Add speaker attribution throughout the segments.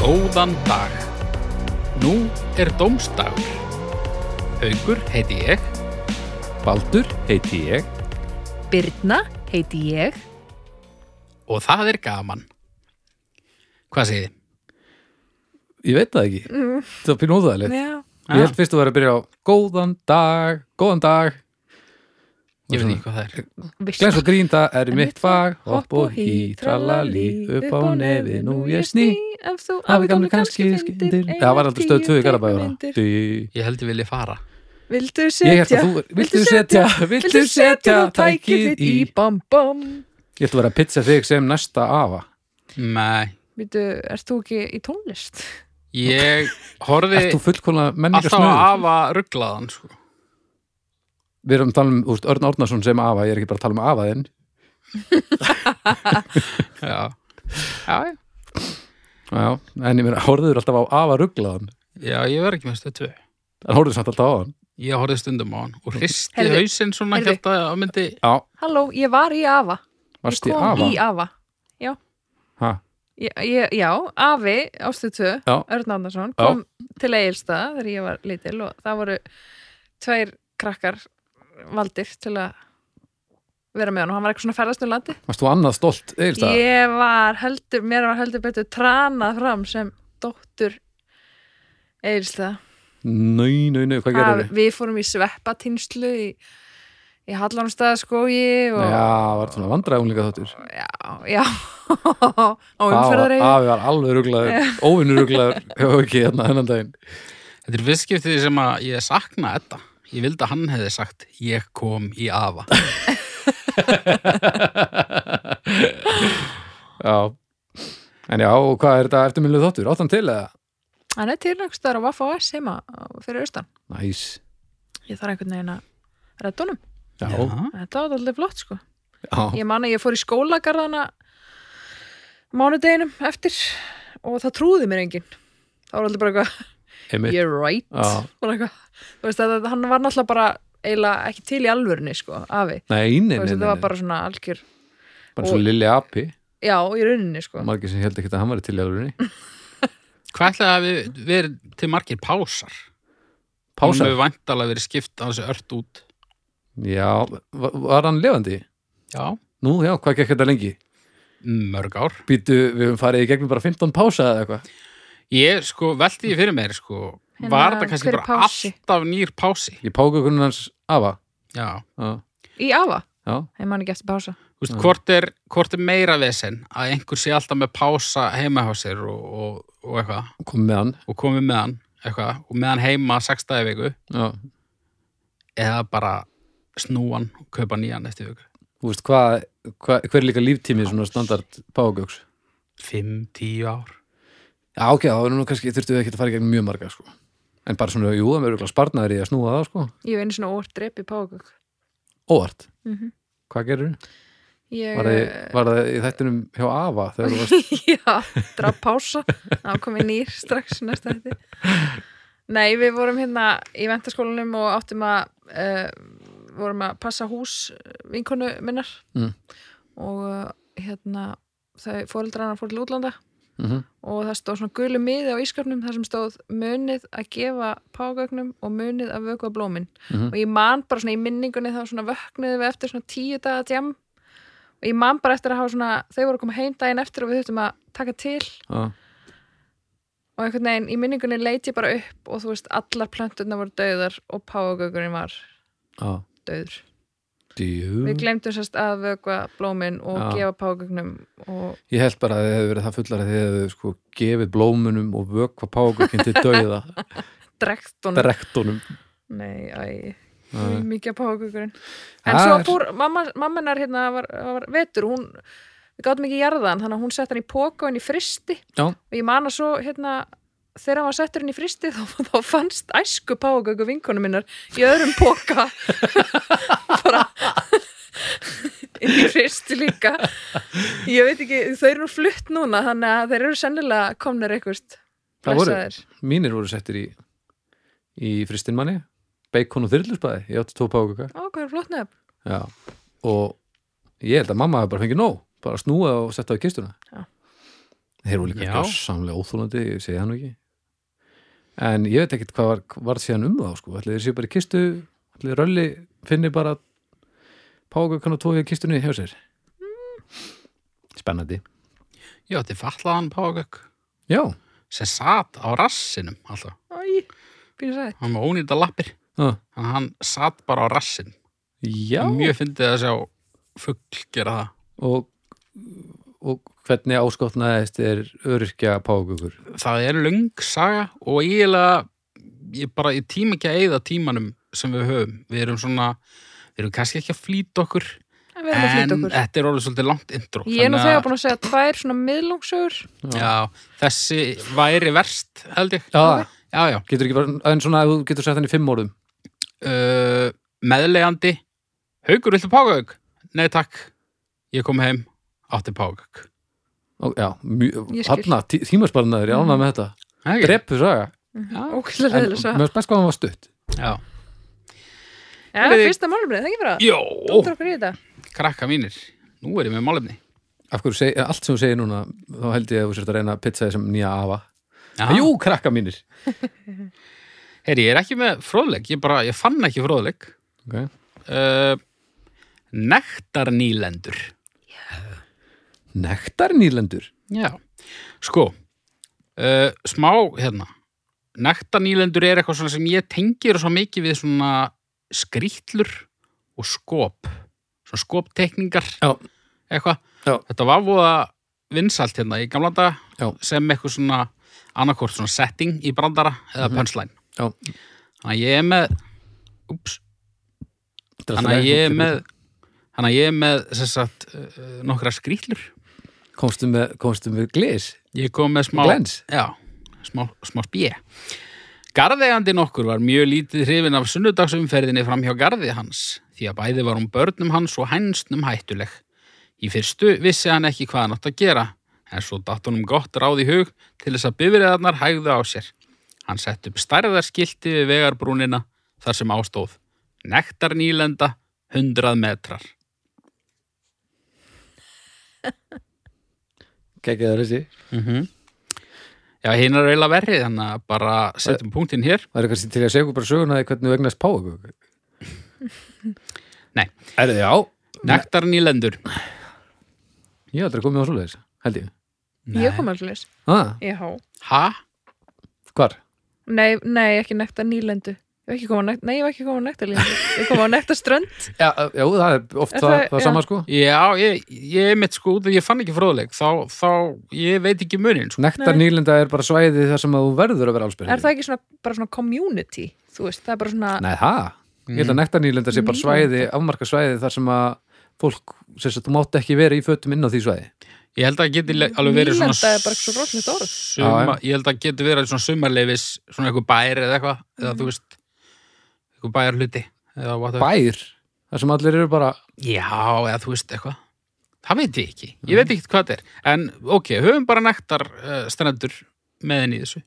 Speaker 1: Góðan dag. Nú er dómstagur. Haugur heiti ég.
Speaker 2: Baldur heiti ég.
Speaker 3: Birna heiti ég.
Speaker 1: Og það er gaman. Hvað segið þið?
Speaker 2: Ég veit það ekki. Það er pínu óþægilegt.
Speaker 3: Já.
Speaker 2: Ég held fyrst að vera að byrja á góðan dag, góðan dag.
Speaker 1: Ég veit ekki hvað það er.
Speaker 2: Glens og grínda er í mitt fag, hopp og hí, trallali, upp á nefi, nú ég sný.
Speaker 3: Ef þú
Speaker 2: Afi gamli kannski skindir.
Speaker 3: eina
Speaker 2: Það var aldrei stöð
Speaker 3: tíu
Speaker 2: 2 í Garabæður.
Speaker 3: teiknimyndir.
Speaker 2: Ég
Speaker 1: Ég held ég vilja fara.
Speaker 3: Viltu
Speaker 2: held
Speaker 3: setja
Speaker 2: að þú, viltu setja, viltu setja tækið
Speaker 3: þitt
Speaker 2: í.
Speaker 3: Bam bam
Speaker 2: Ég ætla að vera að pizza þig sem næsta afa.
Speaker 1: Nei,
Speaker 3: Viltu, ert þú ekki í tónlist?
Speaker 1: ég horfi
Speaker 2: Ert þú fullkona menningar
Speaker 1: alltaf að
Speaker 2: snöður?
Speaker 1: afa rugglaðan, sko.
Speaker 2: Við erum að tala um, þú veist, Örn Árnason sem afa, ég er ekki bara að tala um afa þinn.
Speaker 1: Já. Já, já.
Speaker 2: Já, en ég meira, horfður alltaf á afa rugglaðan.
Speaker 1: já ég verð ekki með stöð tvö.
Speaker 2: En horfður samt alltaf á hann.
Speaker 1: Ég horfið stundum á hann og hristi
Speaker 3: Heyrðu,
Speaker 1: hausinn svona
Speaker 3: heyrðu.
Speaker 1: hérna að myndi...
Speaker 2: Já,
Speaker 3: Halló, ég var í AFA
Speaker 2: varst
Speaker 3: Ég
Speaker 2: í
Speaker 3: kom
Speaker 2: afa.
Speaker 3: í AFA
Speaker 2: Ha,
Speaker 3: Ég, ég, já, Afi ástuð 2,
Speaker 2: Já.
Speaker 3: Örn Andersson
Speaker 2: Já.
Speaker 3: kom til Egilstaða þegar ég var lítil og það voru tveir krakkar valdir til að vera með hann og hann var eitthvað svona ferðast um landi
Speaker 2: varst þú annað stolt Egilstað?
Speaker 3: ég var heldur, mér var heldur betur tranað fram sem dóttur Egilstaða
Speaker 2: Nei, nei, nei, hvað gerir
Speaker 3: Ha, við fórum í sveppatýnslu í, í Hallanumstaðaskógi
Speaker 2: Já,
Speaker 3: og
Speaker 2: var þetta svona vandræðum líka þáttur.
Speaker 3: já, já og umferðareig
Speaker 2: Afi var alveg ruglaður, óvinnur ruglaður, hefur ekki hérna hennan daginn.
Speaker 1: Þetta er viðskiptið sem að ég sakna þetta. Ég vildi að hann hefði sagt, ég kom í afa.
Speaker 2: Já, en já, og hvað er þetta eftirminnileg þáttur? Áttan til eða?
Speaker 3: hann er tilnægstar á Vaffa OS heima á- fyrir austan
Speaker 2: Næs.
Speaker 3: ég þarf einhvern veginn að redda honum
Speaker 2: Já,
Speaker 1: Já.
Speaker 3: þetta var alltaf flott sko
Speaker 2: já,
Speaker 3: ég man að ég fór í skólagarðana mánudeginum eftir og það trúði mér enginn það var alltaf bara eitthvað
Speaker 2: einmitt.
Speaker 3: you're right
Speaker 2: Já.
Speaker 3: bara eitthvað þú veist að hann var náttúrulega bara eiginlega ekki til í alvörunni sko afi
Speaker 2: Nei, nei,
Speaker 3: þú
Speaker 2: nei,
Speaker 3: veist
Speaker 2: nei,
Speaker 3: þetta var
Speaker 2: nei.
Speaker 3: bara svona algjör
Speaker 2: bara svo lilli api.
Speaker 3: já í rauninni sko
Speaker 2: Margir sem held ekki að hann var til í alvörinni.
Speaker 1: Hvað ætlaði að við verið til margir pásar? Hún
Speaker 2: Pása.
Speaker 1: hefur vantalega verið skipt á þessu ört út.
Speaker 2: Já, var, var hann levandi?
Speaker 1: Já.
Speaker 2: Nú, já, hvað gekk þetta lengi?
Speaker 1: Mörg ár.
Speaker 2: Býtu, við höfum farið í gegnum bara 15 pása eða eitthvað.
Speaker 1: Ég sko, velti því fyrir mér sko,
Speaker 3: Hérna,
Speaker 1: var þetta kannski
Speaker 3: hver er
Speaker 1: bara
Speaker 3: pási?
Speaker 1: alltaf nýr pási?
Speaker 2: Ég páka hvernig hans afa.
Speaker 1: Já.
Speaker 2: Já,
Speaker 3: í afa
Speaker 2: já.
Speaker 3: ég man ekki eftir pása
Speaker 1: Þú veist,
Speaker 2: Já.
Speaker 1: hvort er, hvort er meira vesen að einhver sé alltaf með pása heima hjá sér og, og, og eitthvað
Speaker 2: kom með hann.
Speaker 1: og komið með hann eitthvað og með hann heima sex dagi í viku
Speaker 2: Já.
Speaker 1: eða bara snúan og kaupa nýjan eftir viku.
Speaker 2: Þú veist, hvað, hva, hver er líka líftími svona standard págauks?
Speaker 1: Fimm, tíu ár.
Speaker 2: Já, ok, þá erum nú kannski, þurftu við ekki að fara í gegnum mjög marga, sko. En bara svona, jú, það með örgulega spartnaður í að snúa það, sko.
Speaker 3: ég hef einu svona óvart drepp í pákök
Speaker 2: Óvart.
Speaker 3: mm -hmm.
Speaker 2: Hvað gerir þú?
Speaker 3: ég
Speaker 2: Var, þið- var það í þættinum hjá afa þegar þú varst?
Speaker 3: Já, draf pása þá komið nýr strax í næsta þetta Nei, við vorum hérna í ventaskólanum og áttum að uh, vorum að passa hús eh, vinkonu minnar
Speaker 2: Mm.
Speaker 3: og eh, hérna þau fóreldrarna fór til útlanda
Speaker 2: Mm
Speaker 3: og það stóð svona gulu miði á ískapnum þar sem stóð munið að gefa págögnum og munið að vökva blómin
Speaker 2: Mhm.
Speaker 3: og ég man bara svona í minningunni þá svona vöknuðum við eftir svona tíu daga tjám og ég man bara eftir að hafa svona þau voru að koma heim daginn eftir og við þurftum að taka til
Speaker 2: Já,
Speaker 3: og einhvern veginn í minningunni leit ég bara upp og þú veist allar plönturna voru döðar og págögnin var
Speaker 2: já.
Speaker 3: döður
Speaker 2: Djú.
Speaker 3: við glemdum sérst að vökva blómin og
Speaker 2: Mm. Já.
Speaker 3: gefa págögnum og
Speaker 2: Ég held bara að þið hefur verið það fullar að þið hefur sko gefið blómunum og vökva págaukinn til dauða,
Speaker 3: drektunum
Speaker 2: drektunum.
Speaker 3: Nei, æ,
Speaker 2: Nei.
Speaker 3: mikið að pákaukurinn En
Speaker 2: Það
Speaker 3: svo
Speaker 2: er-
Speaker 3: fór, mamma, mamma hennar hérna var, var vetur, hún við gátum ekki jarðan, þannig að hún sett hann í póka og hann í fristi
Speaker 2: Já.
Speaker 3: og ég man að svo hérna þegar hann var settur hann í fristi þá, þá fannst æsku pákauku vinkonu minnar í öðrum póka bara inn í fristi líka ég veit ekki, þau eru nú flutt núna þannig að þeir eru sennilega komnir eitthvað
Speaker 2: Það voru.
Speaker 3: blessaðir
Speaker 2: Mínir voru settir í, í fristinmanni, beikon og þyrlusbæði, ég átti tvo págauka.
Speaker 3: Ó, hvað er flott nefn
Speaker 2: Já. Og ég held að mamma hefði bara fengið nóg, bara snúið og sett það í kistuna.
Speaker 3: Já.
Speaker 2: þeir voru líka
Speaker 1: Já.
Speaker 2: gjörsamlega óþólandi, ég segi það nú ekki en ég veit ekkert hvað var, var síðan um þá sko, ætli þeir séu bara í kistu ætli rölli finni bara págökan og tóið kistunni hjá sér spennandi
Speaker 1: Ég átti fatlaðan págök
Speaker 2: já,
Speaker 1: sem sat á rassinum alltaf.
Speaker 3: Æ, býnir sætt.
Speaker 1: Hann var ónýta lappir.
Speaker 2: ah,
Speaker 1: Þannig að hann sat bara á rassin.
Speaker 2: já.
Speaker 1: Mjög fyndið að sjá fugl gera það.
Speaker 2: og, og hvernig áskotnaðist er öryrkja págökur
Speaker 1: Það er löng saga og eiginlega, ég bara, ég tíma ekki að eyða tímanum sem við höfum. Við erum svona, við erum kannski ekki að flýta okkur.
Speaker 3: En við erum að flýta okkur.
Speaker 1: þetta er orðið svolítið langt intro.
Speaker 3: Ég er nú
Speaker 1: þannig
Speaker 3: þegar búin að segja tvær svona miðlungsögur.
Speaker 1: Já, þessi væri verst, held ég.
Speaker 2: já,
Speaker 1: Já, já.
Speaker 2: Ah, getur ekki bara, en svona ef þú getur sett hann í fimm orðum
Speaker 1: uh, meðlegandi Haukur, viltu págauk? Nei, takk, ég kom heim átti págauk
Speaker 2: Ó, já,
Speaker 3: Ég
Speaker 2: mjög,
Speaker 3: skil.
Speaker 2: hafna, tí, tímasparnaður, ég ánað með þetta
Speaker 1: Mm.
Speaker 2: Dreppu saga,
Speaker 3: Ókvæmlega
Speaker 2: en
Speaker 3: leðilega
Speaker 2: mér
Speaker 3: svo.
Speaker 2: finnst best hvað hann var stutt
Speaker 1: Já,
Speaker 3: Já,
Speaker 1: Heyrðu-
Speaker 3: fyrsta málumrið, það er ekki bara.
Speaker 1: Jó,
Speaker 3: Dóttur okkur í þetta.
Speaker 1: krakka mínir Nú er ég með málefni
Speaker 2: Af hverju, seg, allt sem þú segir núna þá held ég að þú sért að reyna að pizza þessum nýja afa
Speaker 1: Já.
Speaker 2: Jú, krakka mínir
Speaker 1: Heyri, ég er ekki með fróðleik Ég, bara, ég fann ekki fróðleik
Speaker 2: okay.
Speaker 1: uh, Nektarnýlendur
Speaker 2: Nektar nýlendur
Speaker 1: Já, sko uh, Smá, hérna Nektarnýlendur er eitthvað svona sem ég tengir svo mikið við svona skrýtlur og skop svona skoptekningar
Speaker 2: Já.
Speaker 1: eitthvað
Speaker 2: Já.
Speaker 1: þetta var voða vinsalt hérna í gamla dag
Speaker 2: Já.
Speaker 1: sem eitthvað svona annarkort svona setting í brandara eða
Speaker 2: Mhm.
Speaker 1: punchline
Speaker 2: Já.
Speaker 1: þannig að ég er með ups, þannig að ég er með þannig að ég er með sem sagt, uh, nokkra skrýtlur
Speaker 2: Komstu með, komstu með glis,
Speaker 1: ég kom með smá
Speaker 2: glens
Speaker 1: Já, smá, smá spjö. Garðegandi nokkur var mjög lítið hrifin af sunnudagsumferðinni fram hjá garði hans, því að bæði var hún börnum hans og hænsnum hættuleg. Í fyrstu vissi hann ekki hvað hann átt að gera, en svo datt honum gott ráð í hug til þess að bifriðarnar hægðu á sér. Hann sett upp stærðarskilti við vegarbrúnina þar sem ástóð. Nektar nýlenda, 100 metrar.
Speaker 2: Kekkaður þessi
Speaker 1: Já, hinn er eiginlega verrið, þannig að bara setjum punktinn hér.
Speaker 2: Það er kannski til að segja okkur bara söguna því hvernig þú egnast páa
Speaker 1: Nei.
Speaker 2: Er þið já?
Speaker 1: Nektar nýlendur.
Speaker 2: Ég hef aldrei komið á svoleiðis, held ég
Speaker 3: Ég kom allir leys.
Speaker 2: ah,
Speaker 3: Ég há.
Speaker 1: Hæ?
Speaker 2: Hvar?
Speaker 3: Nei, nei, ekki nekta nýlendu. Ég var ekki koma á nekta, nei, ég var ekki koma á nekta lílendu. Ég kom á nekta strönd.
Speaker 2: Já, já, það er oft
Speaker 3: Er
Speaker 2: það,
Speaker 3: það-
Speaker 2: það
Speaker 3: já.
Speaker 2: sama sko
Speaker 1: Já, ég, ég er mitt sko út að ég fann ekki fróðleik þá, þá ég veit ekki munin sko.
Speaker 2: Nektar nýlenda er bara svæði þar sem að þú verður að vera allsbyrðið
Speaker 3: Er það ekki svona, bara svona community? Þú veist, það er bara svona,
Speaker 2: Nei, það? Ég
Speaker 3: Mm.
Speaker 1: Mm.
Speaker 2: held að nektar nýlenda sé bara
Speaker 3: Nýlenda.
Speaker 2: svæði, afmarka svæði þar sem að fólk, sem sagt, þú mátt ekki vera í fötum inn á því svæði.
Speaker 1: Ég held að það geti le- alveg verið svona
Speaker 3: Nýlenda er bara svo rosalegt orð.
Speaker 1: suma, Ég held að það geti verið svona sumarleifis svona eitthvað bær eða eitthvað
Speaker 3: Mm.
Speaker 1: eða þú veist, eitthvað bæjar hluti eða what the-
Speaker 2: Bær, þar sem allir eru bara,
Speaker 1: Já, eða þú veist eitthvað Það veit ég ekki,
Speaker 2: Mm.
Speaker 1: ég veit ekki hvað þetta er En ok, höfum bara nektar uh, strendur með henni í þessu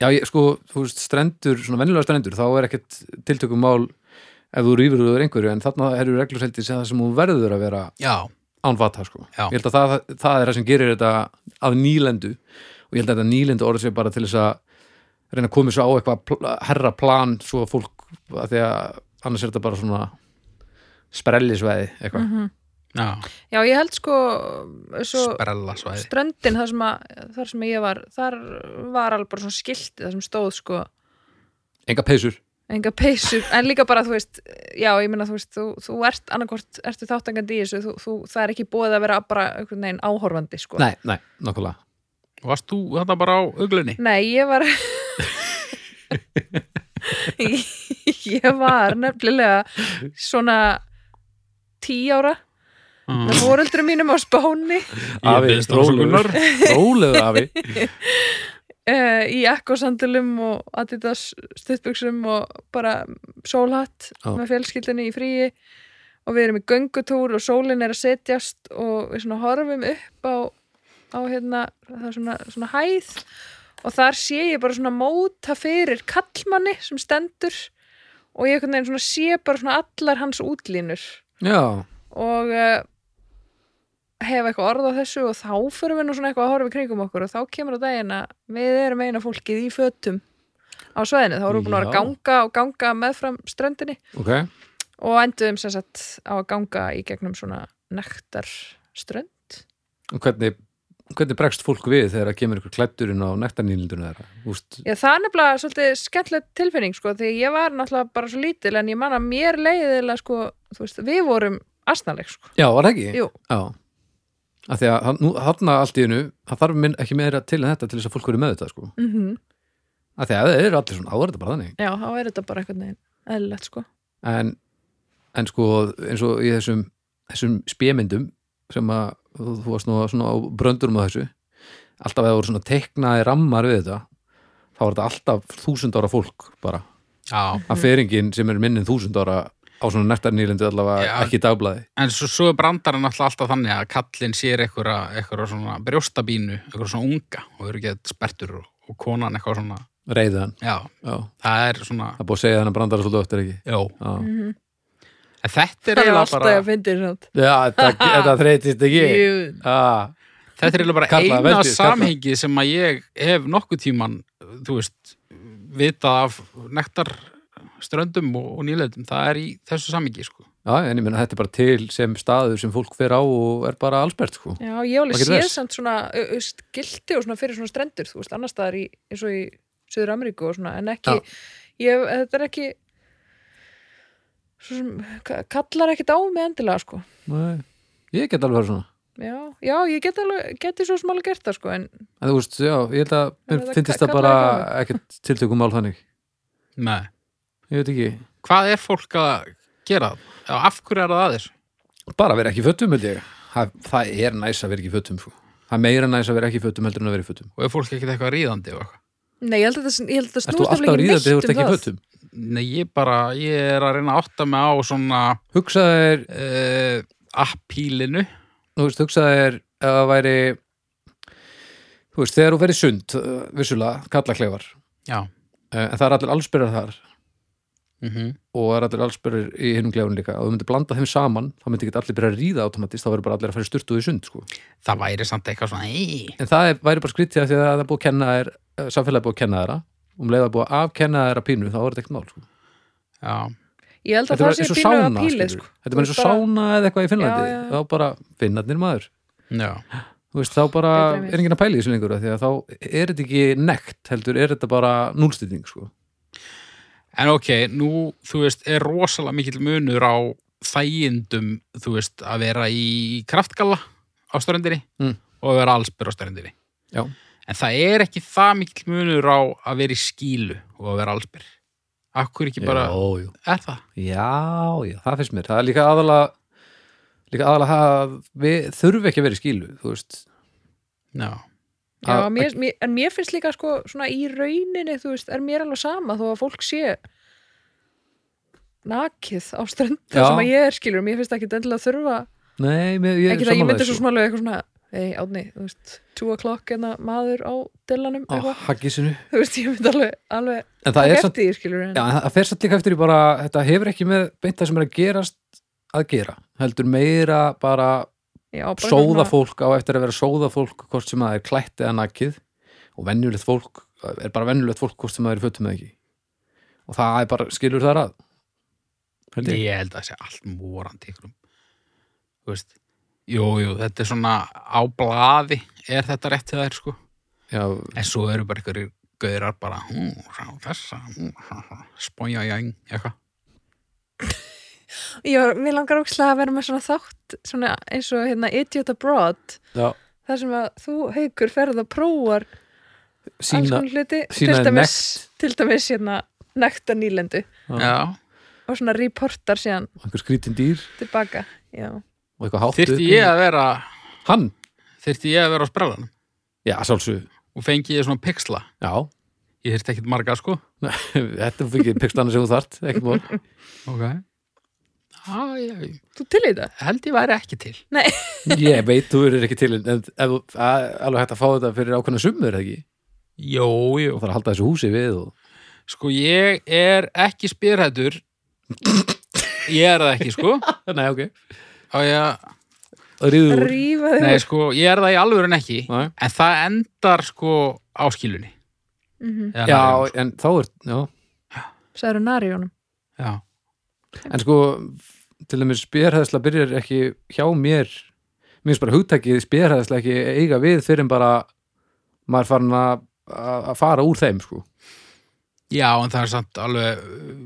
Speaker 2: já, ég, sko, þú veist, strendur, svona venjulega strendur, þá er ekkert tiltökum mál ef þú rýfur þú einhverju, en þarna eru regluseldi sem það sem þú verður að vera
Speaker 1: Já,
Speaker 2: án vata, sko.
Speaker 1: Já.
Speaker 2: Ég held að það, það er það sem gerir þetta að nýlendu og ég held að þetta nýlendu orðið sé bara til þess að reyna að koma svo á eitthvað pl- herra plan svo að fólk, að því að annars er þetta bara svona sprellisvæði eitthvað.
Speaker 1: Mm. já,
Speaker 3: já, ég held sko, svo
Speaker 1: sprella svæði
Speaker 3: ströndin, þar sem, að, þar sem ég var, þar var alveg bara svona skilti, þar sem stóð sko,
Speaker 2: enga peysur
Speaker 3: enga peysu, en líka bara, þú veist, já, ég meina, þú veist, þú, þú ert, annarkvort, ertu þáttangandi í þessu, þú, þú, það er ekki búið að vera bara einhvern veginn áhorfandi, sko.
Speaker 2: nei, nei, nokkulega
Speaker 1: Varst þú þetta bara á auglunni?
Speaker 3: Nei, ég var ég var nefnilega svona tí ára
Speaker 1: Mm.
Speaker 3: með fóreldrum mínum á Spáni
Speaker 1: Ég beðist afsökunar.
Speaker 2: rólegur afi
Speaker 3: uh, í ekkosandilum og Adidas stuttbuxum og bara sólhatt
Speaker 2: Já.
Speaker 3: með fjölskyldinni í fríi og við erum í göngutúr og sólin er að setjast og við svona horfum upp á, á hérna, það er svona, svona hæð og þar sé ég bara svona móta fyrir kallmanni sem stendur og ég einhvern veginn svona sé bara svona allar hans útlínur
Speaker 2: já,
Speaker 3: og uh, eh, hef eitthvað orð á þessu og þá förum við nú svona eitthvað að horfa í kringum okkur og þá kemur á daginn að við erum eina fólkið í fötum á sveðinu, þá erum við búin að vera að
Speaker 2: Já.
Speaker 3: ganga og ganga meðfram ströndinni
Speaker 2: ok,
Speaker 3: og endum sem sagt á að ganga í gegnum svona nektar strönd
Speaker 2: og hvernig hvernig bregst fólk við þegar það kemur ykkur klætturinn á nektarnýlindunum þeirra Úst,
Speaker 3: Já, það er nefnilega svolítið skemmtilegt tilfinning sko, því ég var náttúrulega bara svo lítil en ég man að mér leiðilega sko, þú veist, við vorum asnaleg sko.
Speaker 2: já, var það ekki?
Speaker 3: Jú,
Speaker 2: já, af því að hann- nú, þarna allt í einu, það þarf minn ekki meira til en þetta til þess að fólk verið með þetta sko.
Speaker 3: mm
Speaker 2: af því að það eru allir svona áverða bara þannig
Speaker 3: já, þá er þetta bara eitthvað neginn eðlilegt sko.
Speaker 2: en, en sko eins og í þessum, þessum spjemyndum sem að þú þú varst nú svona á bröndurum á þessu alltaf að það voru svona teiknaði rammar við þetta þá var þetta alltaf þúsund ára fólk bara,
Speaker 1: Já,
Speaker 2: að feringin sem er minnið þúsund ára á svona nektarnýlindu allavega
Speaker 1: Já.
Speaker 2: ekki í dagblaði
Speaker 1: en svo, svo er brandarinn alltaf, alltaf þannig að kallinn sér eitthvað, eitthvað svona brjóstabínu, eitthvað svona unga og eru ekki spertur og, og konan eitthvað svona,
Speaker 2: reyði hann,
Speaker 1: já,
Speaker 2: já,
Speaker 1: það er svona,
Speaker 2: það er búið að segja hann að brandara svolítið öttir ekki
Speaker 1: já,
Speaker 2: já,
Speaker 3: Mm
Speaker 1: en þetta er
Speaker 3: Það er
Speaker 1: eiginlega
Speaker 3: alltaf
Speaker 1: bara,
Speaker 3: að fyndi þess
Speaker 2: já þetta, þetta þreytist ekki ah,
Speaker 1: þetta er eiginlega bara
Speaker 2: Kalla,
Speaker 1: eina
Speaker 2: veldið, kalla.
Speaker 1: samhengi sem að ég hef nokkuð tíman, þú veist, vitað af nektarströndum og, og nýlendum, það er í þessu samhengi, sko.
Speaker 2: já, en ég menna þetta er bara til sem staður sem fólk fer á og er bara allsbært sko.
Speaker 3: Já, ég hef alveg
Speaker 2: Maður getur
Speaker 3: séð
Speaker 2: þess.
Speaker 3: samt svona ö- ö, skilti og svona fyrir svona strendur, þú veist, annars staðar í, eins og í Suður Ameríku og svona, en ekki, ég, hef- þetta er ekki, svo sem, ka- kallar ekkit á mig endilega, sko.
Speaker 2: Nei, ég get alveg að svona
Speaker 3: Já, já, ég get alveg, geti svo sem alveg gert það, sko, en
Speaker 2: En þú veist, já, ég held að mér
Speaker 3: En það
Speaker 2: finnst
Speaker 3: ka-
Speaker 2: það bara
Speaker 3: kallar
Speaker 2: ekkert tiltökum mál þannig.
Speaker 1: Nei.
Speaker 2: Ég veit ekki.
Speaker 1: Hvað er fólk að gera það? Já, Af hverju er það að þessu?
Speaker 2: Bara vera ekki í fötum, held ég. Það, það er næs að vera ekki í fötum, sko. Það er meira næs að vera ekki í fötum heldur en að vera í fötum.
Speaker 1: Og er fólk ekkert eitthvað ríðandi og eitthvað?
Speaker 3: nei, ég held að þetta, ég held að þetta
Speaker 2: Ert þú
Speaker 3: snúist
Speaker 2: alltaf
Speaker 3: nefnilega
Speaker 2: ríðandi
Speaker 3: ekki
Speaker 2: þegar þú ert ekki í
Speaker 3: neitt um það.
Speaker 2: fötum?
Speaker 1: Nei, ég bara, ég er að reyna að átta mig á svona
Speaker 2: Hugsaðu þér,
Speaker 1: uh, appílinu.
Speaker 2: þú veist, hugsaðu þér ef það væri, þú veist, þegar þú verið sund, uh, vissulega, kallaklefar,
Speaker 1: Já.
Speaker 2: uh, en það er allir allsbyrjar þar
Speaker 1: Mm
Speaker 2: og það er allir allsbyrjar í hinnum klefunum líka og þú myndir blanda þeim saman, þá myndir ekki allir byrja að ríða automatist, þá verður bara allir að fara styrtu í sund, sko.
Speaker 1: Það væri samt eitthvað svona, ei,
Speaker 2: en það er, væri bara skrítið af því að það er búið að kenna þér eh, samfélagið er búið að kenna þeirra um leið að búið að afkenna þeirra pínu þá er þetta ekkert mál sko.
Speaker 1: já,
Speaker 3: Ég held að
Speaker 2: þetta
Speaker 3: það
Speaker 2: er
Speaker 3: sé
Speaker 2: eins og
Speaker 3: pínu að
Speaker 2: sána
Speaker 3: pílið,
Speaker 2: skilurðu.
Speaker 3: sko.
Speaker 2: þetta er bara eins og
Speaker 3: Bara-
Speaker 2: sána eða eitthvað í Finnlandi
Speaker 3: Já, já, já.
Speaker 2: þá bara finnarnir maður
Speaker 1: já,
Speaker 2: Þú veist, þá bara
Speaker 3: Betra en við.
Speaker 2: er enginn að pæla í þessu lengur af því að þá er þetta ekki nekt heldur er þetta bara núlstýting sko.
Speaker 1: En ok, nú, þú veist, er rosalega mikill munur á þægindum, þú veist, að vera í kraftgalla á ströndinni
Speaker 2: Mm.
Speaker 1: og að vera allsbyr á ströndinni.
Speaker 2: Já.
Speaker 1: En það er ekki það mikill munur á að vera í skílu og að vera allsbyr. Akkur ekki bara,
Speaker 2: já,
Speaker 1: er það?
Speaker 2: já, já, það finnst mér það er líka aðalega líka aðalega að við þurfi ekki að vera í skílu þú veist
Speaker 1: Já,
Speaker 3: Já,
Speaker 2: að-
Speaker 3: mér, mér, en mér finnst líka sko svona í rauninni, þú veist, er mér alveg sama þó að fólk sé nakið á ströndu
Speaker 2: Já.
Speaker 3: sem að ég er skilur, mér finnst ekki endilega þurfa
Speaker 2: nei, mér, ég,
Speaker 3: ekki það ég
Speaker 2: sammála
Speaker 3: myndi
Speaker 2: þessu.
Speaker 3: svo smálega eitthvað svona ei, átni, þú veist, 2 o'clock en að maður á dillanum
Speaker 2: á
Speaker 3: eitthvað,
Speaker 2: haggisinu
Speaker 3: þú veist, ég myndi alveg, alveg
Speaker 2: en Ah. það er samt
Speaker 3: eftir því skilur en,
Speaker 2: Já, en það það fer satt líka eftir í bara, þetta hefur ekki með beint það sem er að gerast að gera, heldur meira bara
Speaker 3: já, bara
Speaker 2: sóða
Speaker 3: svona-
Speaker 2: fólk á eftir að vera sóða fólk hvort sem það er klætt eða nakið og venjulegt fólk, er bara venjulegt fólk hvort sem það er í fötum eða ekki og það er bara, skilur það að heldur ég,
Speaker 1: ég held að það sé allt morandi ykkurum þú veist jú, jú, þetta er svona á blaði er þetta rétt til þær sko
Speaker 2: já,
Speaker 1: en svo eru bara ykkur gaurar bara hún, sá þessa hm, hún, spója jæng, eitthvað
Speaker 3: já, mér langar ókslega að vera með svona þátt svona eins og hérna Idiot Abroad
Speaker 2: já
Speaker 3: þar sem að þú haukur ferð og prófar alls
Speaker 2: sína,
Speaker 3: konar hluti
Speaker 2: sýna
Speaker 3: til
Speaker 2: er
Speaker 3: dæmis, til dæmis hérna nekta nýlendu
Speaker 2: já,
Speaker 1: já,
Speaker 3: og svona reportar síðan
Speaker 2: og einhver skrítin dýr
Speaker 3: tilbaka já,
Speaker 2: og eitthvað hátt upp
Speaker 1: þyrfti
Speaker 2: í-
Speaker 1: ég að vera
Speaker 2: hann,
Speaker 1: þyrfti ég að vera á sprellanum
Speaker 2: já, sálsug,
Speaker 1: og fengi ég svona pixla
Speaker 2: já
Speaker 1: ég þyrfti ekkert marga sko
Speaker 2: þetta fyrir ekki pekstana sem þú þart, ekkert mál
Speaker 1: ok ah, ég,
Speaker 3: þú til í það
Speaker 1: held ég væri ekki til
Speaker 2: Ég veit, þú eru ekki til en en ef þú- að- alveg hægt að fá þetta fyrir ákveðna summur, eða ekki?
Speaker 1: jú, jú
Speaker 2: Og það er að halda þessu húsi við og...
Speaker 1: sko ég er ekki spyrhættur ég er það ekki sko
Speaker 2: Nei, ok.
Speaker 1: á ég að
Speaker 2: ríðu úr
Speaker 3: Rífa þig
Speaker 1: Nei,
Speaker 3: úr.
Speaker 1: sko, ég er það í alvöru en ekki
Speaker 2: Nei.
Speaker 1: en það endar sko á skilunni
Speaker 3: Mhm.
Speaker 1: Eða sko.
Speaker 2: Já,
Speaker 1: nærri,
Speaker 2: en þá er, já
Speaker 3: Sagðirðu nari í honum?
Speaker 1: sko. já.
Speaker 2: En sko, til dæmis spjærhæðsla byrjar ekki hjá mér Mér finnst bara hugtækið spjærhæðsla ekki eiga við fyrir en bara maður er farin að að fara úr þeim sko.
Speaker 1: já, en það er samt alveg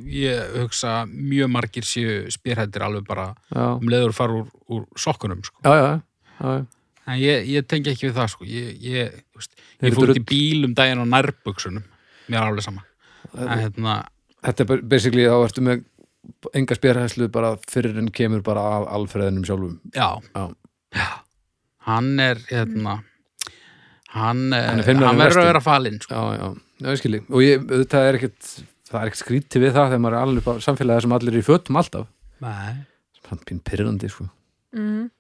Speaker 1: ég hugsa mjög margir séu spyrhættir alveg bara
Speaker 2: Já,
Speaker 1: um leiður fara úr, úr sokkunum sko.
Speaker 2: já, já, já, já.
Speaker 1: en ég, ég tengi ekki við það sko. ég, ég, þú veist,
Speaker 2: Hefur
Speaker 1: ég fór út
Speaker 2: drull.
Speaker 1: í bíl um daginn á nærbuksunum mér er alveg sama en, hérna,
Speaker 2: Þetta er bara- basically þá ertu með enga spjærhæðslu bara fyrir en kemur bara af alfreðinum sjálfum
Speaker 1: já.
Speaker 2: Já.
Speaker 1: Já. hann er hérna hann,
Speaker 2: Hann
Speaker 1: hann,
Speaker 2: er feimnari en
Speaker 1: verður
Speaker 2: restin.
Speaker 1: að vera falinn sko.
Speaker 2: Já, já, já, ég skilji og ég, það er ekkert það er ekkert skrítið við það þegar maður er alveg bara samfélagið sem allir er í fötum alltaf
Speaker 1: Nei.
Speaker 2: Hann pín pyrrandi, sko
Speaker 3: Mhm.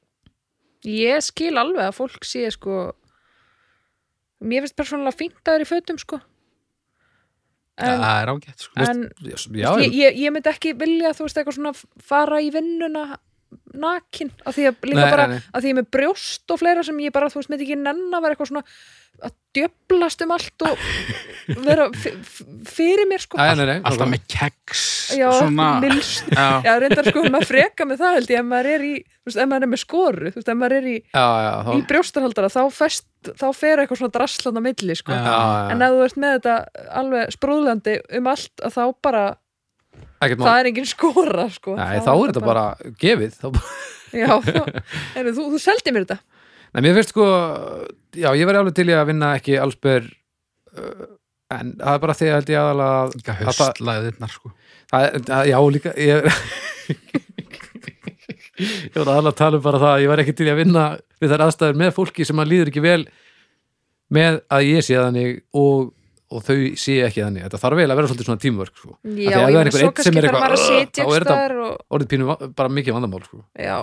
Speaker 3: Ég skil alveg að fólk sé sko mér finnst persónulega fínt að það er í fötum sko en,
Speaker 1: það er ágætt sko.
Speaker 3: en
Speaker 2: Já, já,
Speaker 3: ég, ég, ég myndi ekki vilja þú veist eitthvað svona fara í vinnuna nakin af því að líka
Speaker 2: Nei,
Speaker 3: bara
Speaker 2: nei, nei.
Speaker 3: af því ég er með brjóst og fleira sem ég bara þú veist myndi ekki nenn að vera eitthvað svona að djöblast um allt og vera f- f- fyrir mér sko
Speaker 2: Æ, nei, nei,
Speaker 1: alltaf með keks
Speaker 3: já,
Speaker 1: svona
Speaker 3: nils
Speaker 1: já,
Speaker 3: Já, reyndar sko, maður freka með það held ég, ef maður er í, þú veist, ef maður er með skoru, þú veist, ef maður er í,
Speaker 2: já, já, þá,
Speaker 3: í brjóstarhaldara, þá fest, þá fer eitthvað svona draslan á milli, sko.
Speaker 1: Já.
Speaker 2: já, já,
Speaker 3: En ef þú ert með þetta alveg spróðlandi um allt, að þá bara,
Speaker 2: ekkert mál
Speaker 3: það er engin skora, sko.
Speaker 2: Nei, þá er þetta bara gefið þá bara...
Speaker 3: Já, þá, er, þú, þú seldi mér þetta.
Speaker 2: Nei, mér finnst sko Já, ég væri alveg til í að vinna ekki allsber uh, En það er bara því að held ég aðalega að-
Speaker 1: líka
Speaker 2: að það-
Speaker 1: höstlaðirnar sko.
Speaker 2: það er- að- Já, líka Ég, ég var aðalega að tala um bara það að Ég væri ekki til í að vinna við þær aðstæður með fólki sem að líður ekki vel með að ég sé þannig og, og þau sé ekki þannig Þetta þarf vel að vera svolítið svona tímvörk sko. Af því að ef
Speaker 3: Já, ég
Speaker 2: það er
Speaker 3: meina,
Speaker 2: einhver
Speaker 3: svo
Speaker 2: einn sem
Speaker 3: kannski
Speaker 2: er
Speaker 3: þarf maður að
Speaker 2: eitthvað,
Speaker 3: sitja
Speaker 2: þá er
Speaker 3: ekki
Speaker 2: þetta-
Speaker 3: staðar og,
Speaker 2: Orðið pínu va- bara mikið vandamál sko.
Speaker 3: já,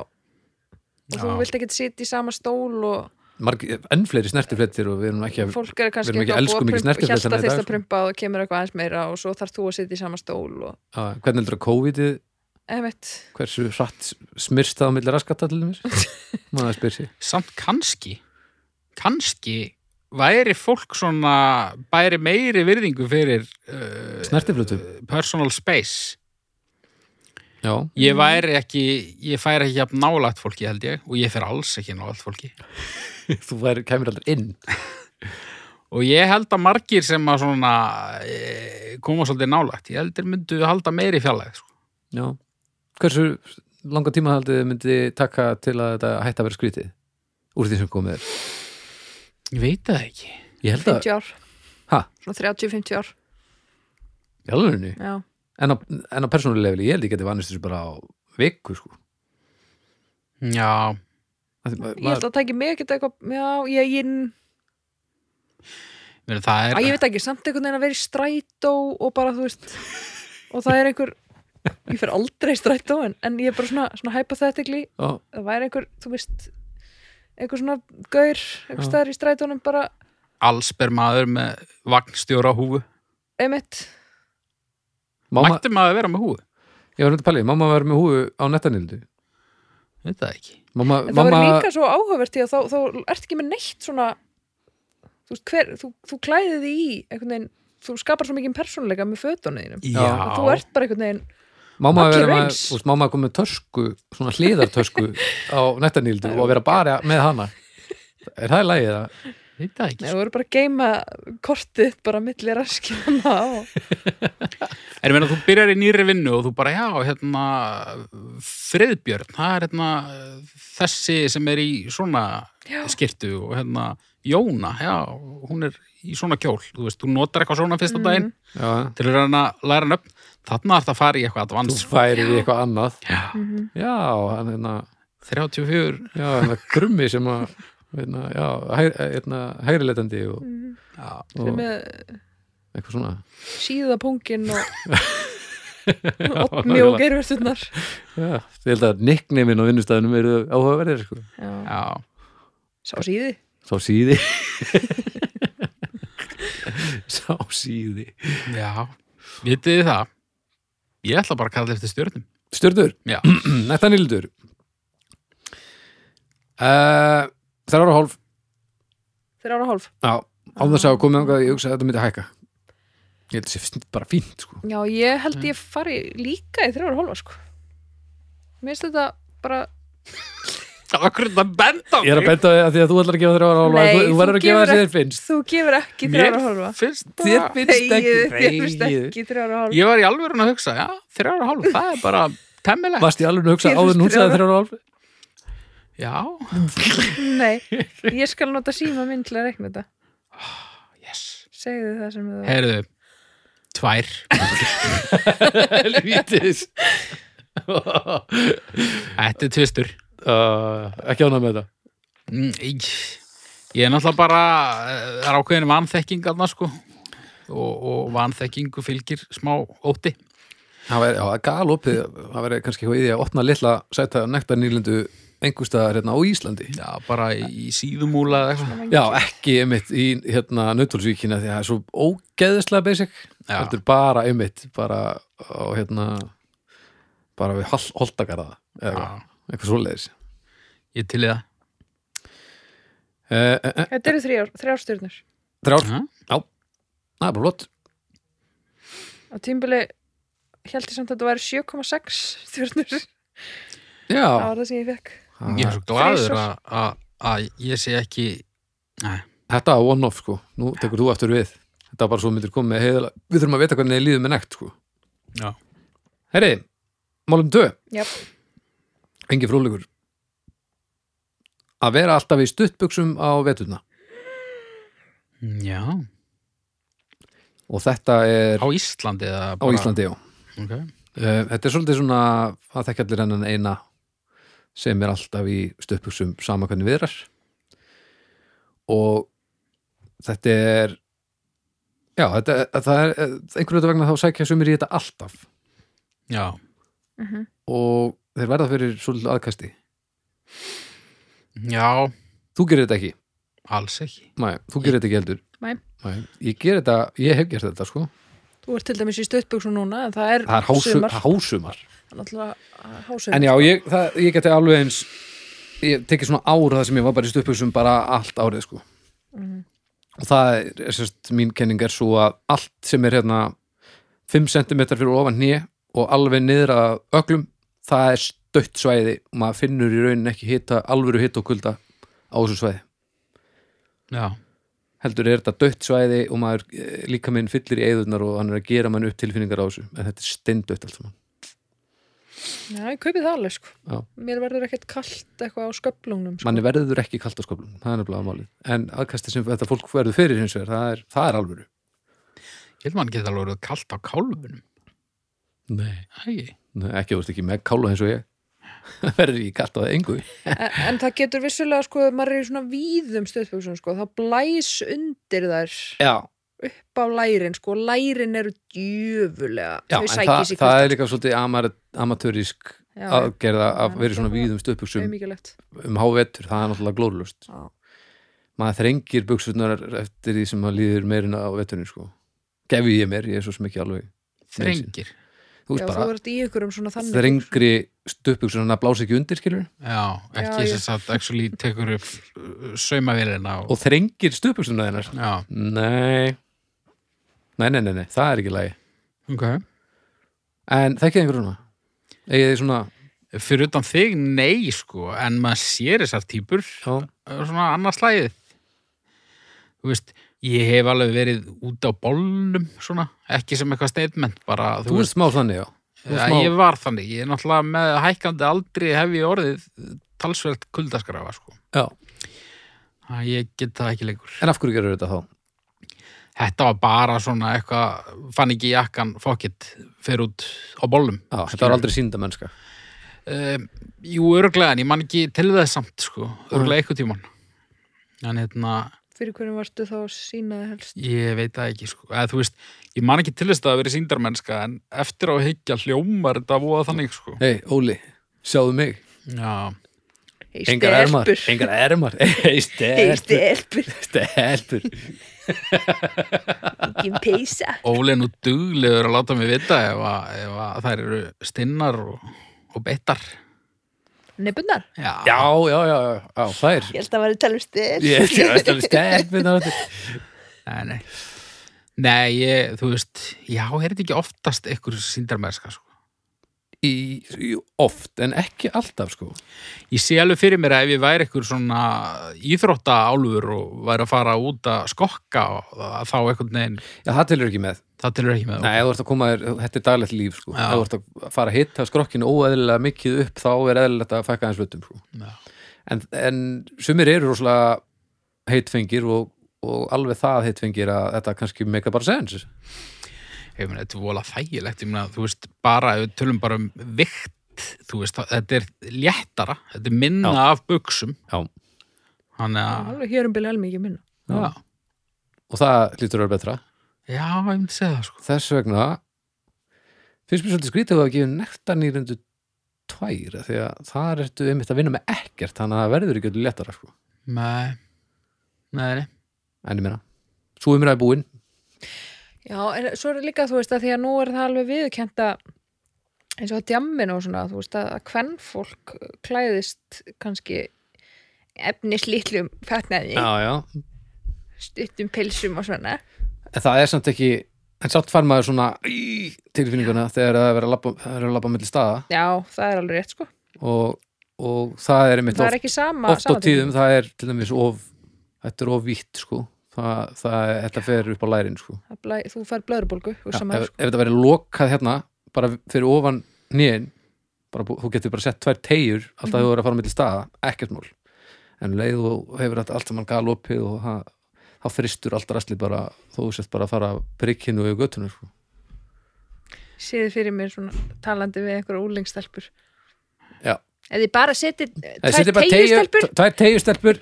Speaker 3: og þú
Speaker 1: Já.
Speaker 3: vilt ekki sitja í sama stól og
Speaker 2: Margir, enn fleiri snertiflettir og við erum ekki að
Speaker 3: fólk er kannski
Speaker 2: erum ekki
Speaker 3: eitthvað
Speaker 2: elskum
Speaker 3: búið
Speaker 2: ekki
Speaker 3: að prumpa-
Speaker 2: snertifletina í
Speaker 3: hjarta
Speaker 2: dag,
Speaker 3: fyrst að
Speaker 2: sko.
Speaker 3: prumpa og kemur eitthvað aðeins meira og svo þarf þú að sitja í sama stól og,
Speaker 2: að, Ah, hvernig heldur að COVID-ið
Speaker 3: emitt,
Speaker 2: hversu hratt smyrst það á milli raskata til mér maður spyr sér
Speaker 1: samt kannski kannski væri fólk svona bæri meiri virðingu fyrir uh,
Speaker 2: snertiflutum
Speaker 1: personal space
Speaker 2: já,
Speaker 3: Mhm.
Speaker 1: ég væri ekki ég færi ekki að nálægt fólki held ég og ég fer alls ekki nálægt fólki
Speaker 2: þú væri, kemur aldrei inn
Speaker 1: og ég held að margir sem að svona e, koma svolítið nálægt ég heldur myndu halda meiri fjallæð sko.
Speaker 2: já. hversu langa tíma haldið þið myndi taka til að þetta hætti að vera skrítið úr því sem komið er
Speaker 1: ég veit það ekki
Speaker 2: ég held að,
Speaker 3: 50 ár
Speaker 2: Ha?
Speaker 3: svona 30-50 ár
Speaker 2: í alvegni
Speaker 3: já.
Speaker 2: en á, en á persónulegli, ég held ég geti vannist þessu bara á viku sko
Speaker 1: já,
Speaker 2: Af því ma-
Speaker 3: ég held að það tæki mig ekkert eitthvað já, ég, ég,
Speaker 1: meni, það
Speaker 3: að,
Speaker 1: er
Speaker 3: ég veit ekki, samt einhvern veginn að vera í strætó og bara þú veist og það er einhver ég fer aldrei í strætó en, en ég er bara svona, svona hypothetically
Speaker 2: já,
Speaker 3: það væri einhver, þú veist einhver svona gaur,
Speaker 2: Já.
Speaker 3: einhver staðar í strætónum bara,
Speaker 1: allsber maður með vagnstjóra á húfu
Speaker 3: einmitt
Speaker 2: mamma,
Speaker 1: mætti maður að vera með húfu,
Speaker 2: ég var um þetta pæli mamma var með húfu á nettanildu
Speaker 1: veit það ekki
Speaker 2: mamma,
Speaker 3: en það
Speaker 2: mamma,
Speaker 3: verður líka svo áhugavert í að þá, þá ert ekki með neitt svona þú veist, hver, þú, þú klæðið þig í einhvern veginn, þú skapar svo mikið persónuleika með fötunum þínum
Speaker 2: Já.
Speaker 3: þú ert bara einhvern veginn
Speaker 2: mamma,
Speaker 3: allir
Speaker 2: verið með,
Speaker 3: eins.
Speaker 2: úst, mamma kom með tösku svona hliðartösku á nettanildu og að vera bara með hana er það í lagið það?
Speaker 1: veit það ekki
Speaker 3: Nei,
Speaker 1: sko.
Speaker 3: þú voru bara að geima kortið þitt bara milli raskina og...
Speaker 1: er meina þú byrjar í nýri vinnu og þú bara já, hérna friðbjörn, það er hérna þessi sem er í svona
Speaker 3: Já.
Speaker 1: skirtu og hérna Jóna, já, hún er í svona kjól, þú veist, þú notar eitthvað svona
Speaker 3: Mhm.
Speaker 1: fyrsta daginn
Speaker 2: Já,
Speaker 1: til að reyna að læra hann upp þannig að það fari í eitthvað
Speaker 2: þú
Speaker 1: advans
Speaker 2: færir í eitthvað annað
Speaker 3: Mhm.
Speaker 1: Já,
Speaker 2: já, hann hérna
Speaker 1: 34
Speaker 2: já, hérna grummi sem að hérna, já, hæ- hérna hægrileitandi og,
Speaker 1: já.
Speaker 2: og
Speaker 3: með
Speaker 2: eitthvað svona
Speaker 3: síðapungin og
Speaker 2: nákvæmlega.
Speaker 3: oddmjók erverðunar
Speaker 2: já, ég held að nickneimin á vinnustæðunum eru áhugaverðir sko.
Speaker 1: Já.
Speaker 3: sá síði
Speaker 2: sá síði sá síði
Speaker 1: já, vitið þið það ég ætla bara að kalla eftir stjörnum
Speaker 2: Stjörnur,
Speaker 1: Já.
Speaker 2: Nettanildur uh, Þrjára og hálf
Speaker 3: Þeir ára hálf.
Speaker 2: Já, án þess að hafa komið þangað, ég hugsa að þetta myndi hækka Ég held að þessi bara fínt sko.
Speaker 3: Já, ég held ég fari líka í þeir ára hálfa, sko. Mér finnst þetta bara...
Speaker 1: Það var hvernig að benda á
Speaker 2: Ég er að benda á því að, því að þú ætlar að gefa þrjára og hálf
Speaker 3: Nei,
Speaker 2: Þú, þú verður að gefa
Speaker 3: gefur
Speaker 2: þessi
Speaker 3: ekki-
Speaker 2: þér finnst
Speaker 3: Þú gefur ekki þeir ára hálfa.
Speaker 1: Mér finnst
Speaker 2: Þér
Speaker 1: það
Speaker 2: finnst ekki
Speaker 3: Þegiðu, þér finnst
Speaker 2: þegiðu.
Speaker 3: ekki þeir ára hálfa.
Speaker 1: Ég var í alvörun að hugsa, já, þrjára hálf, það er bara temmilegt.
Speaker 2: Varst ég alveg að hugsa
Speaker 3: Þér
Speaker 2: áður
Speaker 3: finnst
Speaker 2: en hún sagði
Speaker 3: þrjár
Speaker 2: þrjára og hálf
Speaker 1: Já,
Speaker 3: Nei, ég skal nota síma minn til að rekna þetta.
Speaker 1: yes.
Speaker 3: Segðu það sem þú...
Speaker 1: Herðu, tvær.
Speaker 2: Helvítis
Speaker 1: Þetta er tvistur.
Speaker 2: uh, Ekki ánað með þetta
Speaker 1: Mm, Ég ég er náttúrulega bara, eh, það er ákveðin vanþekking aðna, sko. Og, og vanþekkingu fylgir smá ótti.
Speaker 2: Það væri, já, galopið, það væri kannski hvað í því að opna litla sæta nektar nýlendu einhverstaðar hérna á Íslandi.
Speaker 1: Já, bara í, í síðumúla eða eitthvað.
Speaker 2: Já, ekki einmitt í hérna nautilsvíkina því að það er svo ógeðislega basic,
Speaker 1: Já.
Speaker 2: heldur bara einmitt, bara á hérna, bara við hol- holtagarða eða eitthvað, eitthvað svoleiðis.
Speaker 1: Ég til í það.
Speaker 2: Eh, eh, eh,
Speaker 3: Þetta eru þrjár, þrjár stjörnur.
Speaker 2: Þrjár,
Speaker 1: Já.
Speaker 2: það er bara flott.
Speaker 3: Á tímbili held ég samt að þetta væri 7,6 stjörnur. Það
Speaker 2: Já,
Speaker 3: var það sem ég fekk.
Speaker 1: Ég er svo
Speaker 3: Þrisvar.
Speaker 1: gladur að- að að ég sé ekki,
Speaker 2: þetta var one-off sko, nú tekur þú aftur við. Þetta var bara svo myndir komið heiðala. Við þurfum að vita hvernig þið líður með nekt sko.
Speaker 1: Já.
Speaker 2: Herri, málum döð.
Speaker 3: Já,
Speaker 2: Engi fróðleikur Að vera alltaf í stuttbuxum á veturna
Speaker 1: já,
Speaker 2: og þetta er
Speaker 1: á Íslandi eða
Speaker 2: á
Speaker 1: bara-
Speaker 2: Íslandi já.
Speaker 1: Ok.
Speaker 2: Eh, Þetta er svolítið svona að þekki allir hennan eina sem er alltaf í stuttbuxum sama hvernig viðrar og þetta er já, þetta, það er einhvern veit vegna þá sækja sumir í þetta alltaf
Speaker 1: Já,
Speaker 3: Mhm.
Speaker 2: og þeir verða fyrir svolítið aðkasti
Speaker 1: já,
Speaker 2: Þú gerir þetta ekki,
Speaker 1: alls ekki.
Speaker 2: Nei, þú gerir þetta ekki heldur
Speaker 3: Nei.
Speaker 2: Ég gerir þetta, ég hef gert þetta sko
Speaker 3: þú ert til dæmis í stuttbuksu núna, en það er,
Speaker 2: Það er hásu,
Speaker 3: sumar.
Speaker 2: hásumar
Speaker 3: Það er náttúrulega hásumar.
Speaker 2: En já, ég, það, ég geti alveg eins ég tekið svona ára það sem ég var bara í stuttbuxum bara allt árið sko og það er, er sérst, mín kenning er svo að allt sem er hérna 5 cm fyrir ofan hné og alveg niður að öglum það er stött svæði og maður finnur í raunin ekki hita, alvöru hita og kulda á þessu svæði
Speaker 1: Já,
Speaker 2: heldur er þetta dött svæði og maður eh, líka minn fyllir í eðurnar og hann er að gera mann upp tilfinningar á þessu en þetta er steindött allt saman
Speaker 3: Já, ég kaupið það alveg, sko.
Speaker 2: Já.
Speaker 3: Mér verður ekkert kallt eitthvað á sköflungnum, sko.
Speaker 2: manni verður ekki kalt á sköflum það er nefnilega málið en aðkasti sem þetta fólk verður fyrir hins vegar það er, það er alvöru
Speaker 1: ég held maður geta alveg verið kalt á kálfunum.
Speaker 2: nei.
Speaker 1: Ægi.
Speaker 2: ekki þú veist ekki með kála eins og ég það verður ekki kalt á það engu
Speaker 3: En, en það getur vissulega, sko, ef maður er í svona víðum stuttbuksum, sko. Það blæs undir þær
Speaker 2: já,
Speaker 3: upp á lærin, sko. Lærin eru djöfulega.
Speaker 2: já
Speaker 3: Þau
Speaker 2: en
Speaker 3: sækja
Speaker 2: það,
Speaker 3: sig
Speaker 2: það
Speaker 3: hvert-
Speaker 2: er líka svolítið amar, amatörísk
Speaker 3: Já,
Speaker 2: aðgerða að
Speaker 3: Já,
Speaker 2: vera í svona
Speaker 3: það er
Speaker 2: víðum stöpuksum
Speaker 3: auðmíkilegt.
Speaker 2: um hávetur, það er náttúrulega glórlust
Speaker 3: Já.
Speaker 2: maður þrengir buksurnar eftir því sem maður líður meirinn á veturinn sko. gefi ég mér, ég er svo sem ekki alveg
Speaker 1: Þrengir.
Speaker 2: þú
Speaker 3: Já,
Speaker 2: veist
Speaker 3: þú
Speaker 2: bara,
Speaker 3: ert í ykkur um svona þannig.
Speaker 2: þrengri stöpuksur hann að blása ekki undir skilur
Speaker 1: Já, ekki
Speaker 3: Já,
Speaker 1: já,
Speaker 3: ég-
Speaker 1: þess að actually tekur upp uh, saumavélina og...
Speaker 2: og þrengir stöpuksuna þennar
Speaker 1: Já,
Speaker 2: Nei Nei, nei, nei, nei, það er ekki lægi
Speaker 1: ok.
Speaker 2: En þekkið einhverjum svona Egið þið svona
Speaker 1: Fyrir utan þig, nei, sko, en maður sér þessar típur
Speaker 2: já,
Speaker 1: uh, svona annarslæðið. Þú veist, ég hef alveg verið út á bólnum, svona, ekki sem eitthvað statement, bara,
Speaker 2: Þú ert smá þannig, já Þú
Speaker 1: Já,
Speaker 2: ert smá,
Speaker 1: ég var þannig, ég er náttúrulega með hækkandi aldrei hef ég orðið talsvert kuldaskrafa sko.
Speaker 2: já.
Speaker 1: Æ, ég get það ekki lengur
Speaker 2: En af hverju gerur þetta þá?
Speaker 1: Þetta var bara svona eitthvað fann ekki jakkan, fokkitt fyrir út á bollum
Speaker 2: Já, þetta var aldrei sínda mennska
Speaker 1: um, Jú, örglega, en ég man ekki til þess samt sko, örglega eitthvað tíman En hérna,
Speaker 3: Fyrir hvernig varstu þá sínaði helst?
Speaker 1: ég veit það ekki sko, eða þú veist, ég man ekki til þess að það hafi verið síndarmennska, en eftir á að hyggja hljómar þetta voða þannig sko
Speaker 2: Hei, Óli, sjáðu mig
Speaker 1: Já,
Speaker 3: Hey,
Speaker 2: Engar ermar,
Speaker 3: stelpur.
Speaker 2: engar ermar Hei,
Speaker 3: Hey,
Speaker 2: stelpur,
Speaker 3: stelpur,
Speaker 2: stelpur
Speaker 3: engin peysa.
Speaker 1: Óli er nú duglegur að láta mig vita ef að, ef að þær eru stinnar og, og betar
Speaker 3: Nibbunar?
Speaker 1: Já,
Speaker 2: já, já, já, já, já það er
Speaker 3: Ég held að um vera telvistir
Speaker 2: ég ég- ég- þetta er stærk við það
Speaker 1: Nei, nei. Nei, ég, þú veist, já, er þetta ekki oftast ykkur síndarmennska, sko.
Speaker 2: í, í, oft, en ekki alltaf sko
Speaker 1: Ég sé alveg fyrir mér að ef ég væri ykkur svona íþrótta álfur og væri að fara út að skokka að þá einhvern veginn,
Speaker 2: já, það telur ekki með,
Speaker 1: það tilur ekki með
Speaker 2: nei, ef þú ert að koma þér þetta er daglegt líf sko,
Speaker 1: Já.
Speaker 2: ef þú ert að fara að hitta skrokkinu óeðlilega mikið upp þá er eðlilegt að fækka hans hlutum sko.
Speaker 1: Já.
Speaker 2: en, en sumir eru rosalega heitfengir og, og alveg það heitfengir að þetta kannski make bara sense
Speaker 1: Ég meina, þetta er vola þægilegt, ég meina, þú veist, bara, ef við tölum bara um vikt, þú veist, það- þetta er léttara, þetta er minna af buksum,
Speaker 2: já.
Speaker 1: þannig að,
Speaker 3: Alveg hér um byrja helmingi minna
Speaker 2: Já.
Speaker 1: já,
Speaker 2: og það lítur að vera betra
Speaker 1: já, ég myndi segja það, sko.
Speaker 2: þess vegna finnst mér svolítið skrítið að gefa nektarnýrendu tvær af því að þar ertu einmitt að vinna með ekkert þannig að það verður ekki öllu léttara sko.
Speaker 1: Nei, nei, nei.
Speaker 2: en ég meina, svo umræði búin
Speaker 3: Já, en svo er líka, þú veist, að því að nú er það alveg viðurkennt að eins og að djamminu og svona, þú veist, að að kvennfólk klæðist kannski efnislítlum fatnaði,
Speaker 2: já.
Speaker 3: stuttum pilsum og svona.
Speaker 2: en það er samt ekki en samt fær maður svona í, tilfinninguna þegar það er að vera að labba, það er að labba mellir staða
Speaker 3: Já, það er alveg rétt, sko.
Speaker 2: og, og það er einmitt
Speaker 3: það
Speaker 2: oft-
Speaker 3: er ekki sama.
Speaker 2: oft á
Speaker 3: sama
Speaker 2: tíðum það er til dæmis of þetta er of vítt sko það, það, þetta fer upp á lærin sko
Speaker 3: Það blæ, þú fær blöðrubólgu, þú
Speaker 2: Já,
Speaker 3: sama,
Speaker 2: ef,
Speaker 3: sko.
Speaker 2: ef þetta verið lokað hérna bara fyrir ofan nýðin bara, bú- þú getur bara sett tvær tegjur alltaf
Speaker 3: Mhm.
Speaker 2: mm -hmm. þú verður að fara með til staða, ekkert mál en um leið og hefur þetta allt saman gal opið og það, þá fristur allt rastlið bara, þú sett bara að fara prikkinu og göttinu sko.
Speaker 3: Séðu fyrir mér svona talandi við einhverja úrlengstelpur.
Speaker 2: Já.
Speaker 3: Ef þið bara setið
Speaker 2: Nei,
Speaker 3: tvær
Speaker 2: setjið bara tegjur-
Speaker 3: tegjustelpur,
Speaker 2: t- tvær tegjustelpur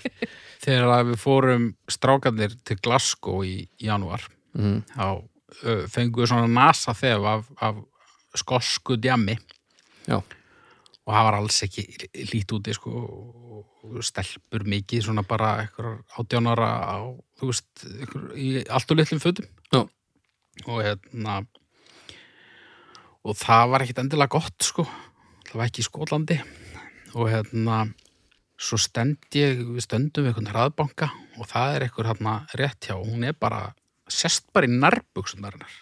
Speaker 1: Þegar að við fórum strákanir til Glasgow í janúar,
Speaker 2: mm.
Speaker 1: þá uh, fengum við svona nasa þef af, af skosku djammi
Speaker 2: já,
Speaker 1: og það var alls ekki lít úti sko og stelpur mikið svona bara einhver átjánara á, þú veist, einhver, í allt og litlum fötum
Speaker 2: Já.
Speaker 1: og hérna og það var ekkit endilega gott sko það var ekki í Skólandi og hérna svo stend ég, við stöndum við einhvern hraðbanka og það er einhver hérna rétt hjá hún er bara, sest bara í nærbuksundarinnar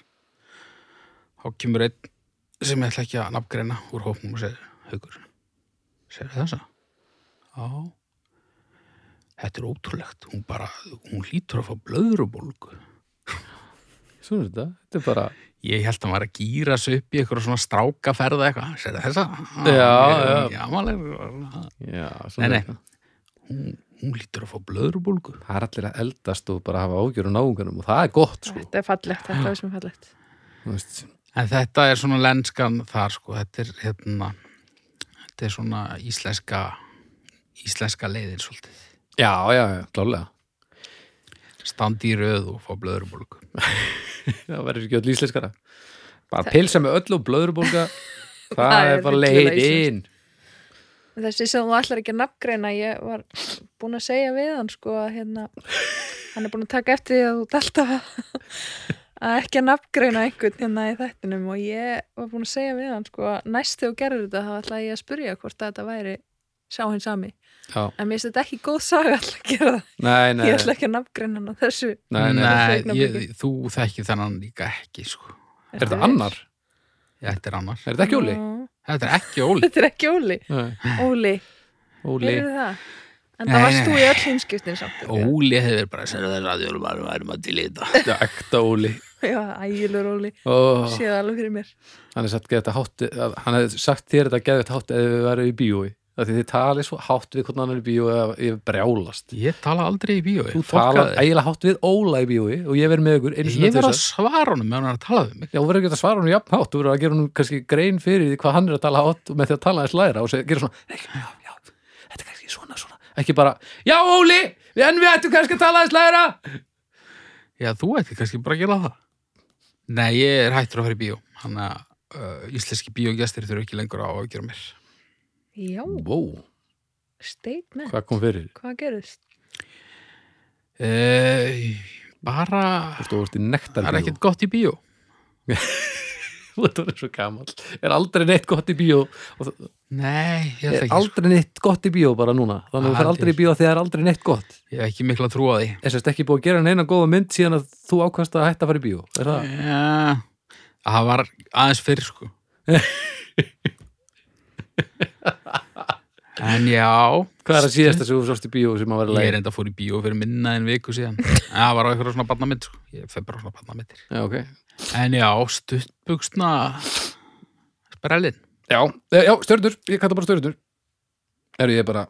Speaker 1: þá kemur einn sem ég ætla ekki að nafngreina úr hópnum og segir, haukur, segir þessa? Já. Þetta er ótrúlegt, hún bara, hún hlýtur að fá blöðrubólgu.
Speaker 2: svona er þetta þetta er bara,
Speaker 1: Ég held að hann var að gýra sig upp í eitthvað svona strákaferða eitthvað, segir þessa?
Speaker 2: Já,
Speaker 1: já. Jamalega,
Speaker 2: já,
Speaker 1: Nei,
Speaker 2: svona er
Speaker 1: nei.
Speaker 2: þetta.
Speaker 1: hún, hún hlýtur að fá blöðrubólgu.
Speaker 2: það er allir að eldast og bara hafa ágjör og náungunum og það er gott sko,
Speaker 3: þetta er fallegt, þetta er sem fallegt.
Speaker 2: þú veist
Speaker 1: En þetta er svona lenskan þar, sko, þetta er hérna, þetta er svona íslenska, íslenska leiðin svolítið.
Speaker 2: já, já, já, klálega
Speaker 1: Standi í röð og fá blöðrubólgu.
Speaker 2: það verður ekki öll íslenskara bara
Speaker 3: Það-
Speaker 2: pilsa með öll og blöðurbólga það
Speaker 3: Það
Speaker 2: er
Speaker 3: er
Speaker 2: bara
Speaker 3: virkilega
Speaker 2: leiðin
Speaker 3: Þessi sem þú ætlar ekki að nafngreina, ég var búin að segja við hann, sko, að hérna, hann er búin að taka eftir því að þú ert alltaf að, að ekki að nafngreina einhvern hérna í þættinum og ég var búin að segja við hann, sko, að næst þegar þú gerir þetta, þá ætla ég að spurja hvort að þetta væri sá hinn sami.
Speaker 2: já,
Speaker 3: En mér finnst þetta ekki góð saga alltaf að gera það.
Speaker 2: nei, nei,
Speaker 3: Ég ætla ekki að nafngreina hann á þessu.
Speaker 2: nei, nei.
Speaker 3: Nei,
Speaker 1: ég, þú þekkir þennan líka ekki, sko.
Speaker 2: er þetta annar?
Speaker 1: Þetta er annar.
Speaker 2: er þetta ekki Óli?
Speaker 3: Já,
Speaker 1: Þetta er ekki óli.
Speaker 3: Þetta er ekki Óli.
Speaker 2: Nei,
Speaker 3: Óli,
Speaker 2: Óli,
Speaker 3: heyrðu það? En
Speaker 1: Nei,
Speaker 3: það varst
Speaker 1: nei.
Speaker 3: þú í öll hinskiptin samt.
Speaker 1: Óli hefur bara að segja þess að við erum að til í þetta.
Speaker 2: já, ekta Óli
Speaker 3: Já, ægilur Óli.
Speaker 2: Ó,
Speaker 3: Séð alveg fyrir mér.
Speaker 2: hann er sagt geðvægt hátt að- hann hefði sagt þér þetta geðvægt hátt ef við verðum í bíói af því þið talið svo hátt við hvernig annar í bíói að ég brjálast
Speaker 1: Ég tala aldrei í bíói.
Speaker 2: þú
Speaker 1: Fólk
Speaker 2: talað
Speaker 1: að-
Speaker 2: eiginlega hátt við Óla í bíói og ég verð með ykkur einu sinni
Speaker 1: Ég verð að
Speaker 2: tvisvar.
Speaker 1: svara honum meðan hann er að tala við mig.
Speaker 2: Já, þú verður ekki að svara hún jafn hátt, þú verður að gera hún kannski grein fyrir því hvað hann er að tala hátt og með því að tala aðeins læra og segja, gera svona, "Nei, já, já, þetta er kannski svona, svona, ekki bara, já, Óli, en við ættum kannski að tala aðeins læra.
Speaker 1: Já, þú ætti kannski bara að gera það. Nei, ég er hættur að fara í bíó. Þannig að uh, íslenski bíógestir þurfa ekki lengur að ágjöra mér.
Speaker 3: Já,
Speaker 2: Vó,
Speaker 3: statement.
Speaker 2: hvað kom fyrir?
Speaker 3: Hvað gerðist?
Speaker 1: Uh, bara,
Speaker 2: Þú veist, þú veist í
Speaker 1: það
Speaker 2: nektar
Speaker 1: er ekkert gott í bíó.
Speaker 2: þú ert orðin svo gamall er aldrei neitt gott í bíó og það-
Speaker 1: Nei, ég ætla
Speaker 2: er
Speaker 1: ekki, sko. Ah,
Speaker 2: aldrei neitt gott í bíó bara núna þannig að þú fer aldrei í bíó þegar er aldrei neitt gott
Speaker 1: ég hef ekki mikla trú að því.
Speaker 2: er sérst ekki búið að gera neina góða mynd síðan að þú ákvæmst að hætta að fara í bíó er það?
Speaker 1: Já, það var aðeins fyrr sko En já
Speaker 2: hvað er að síðast þessu úr sást í bíó sem að vera
Speaker 1: Ég er
Speaker 2: leið?
Speaker 1: enda fór í bíó fyrir minna en viku síðan En Það var á eitthvað svona barnamynd sko. Ég fer bara á svona barnamyndir
Speaker 2: Já, ok.
Speaker 1: En já, stuttbugsna Sprellin
Speaker 2: já, eh, já stjörnur, ég kalla bara stjörnur er ég er bara,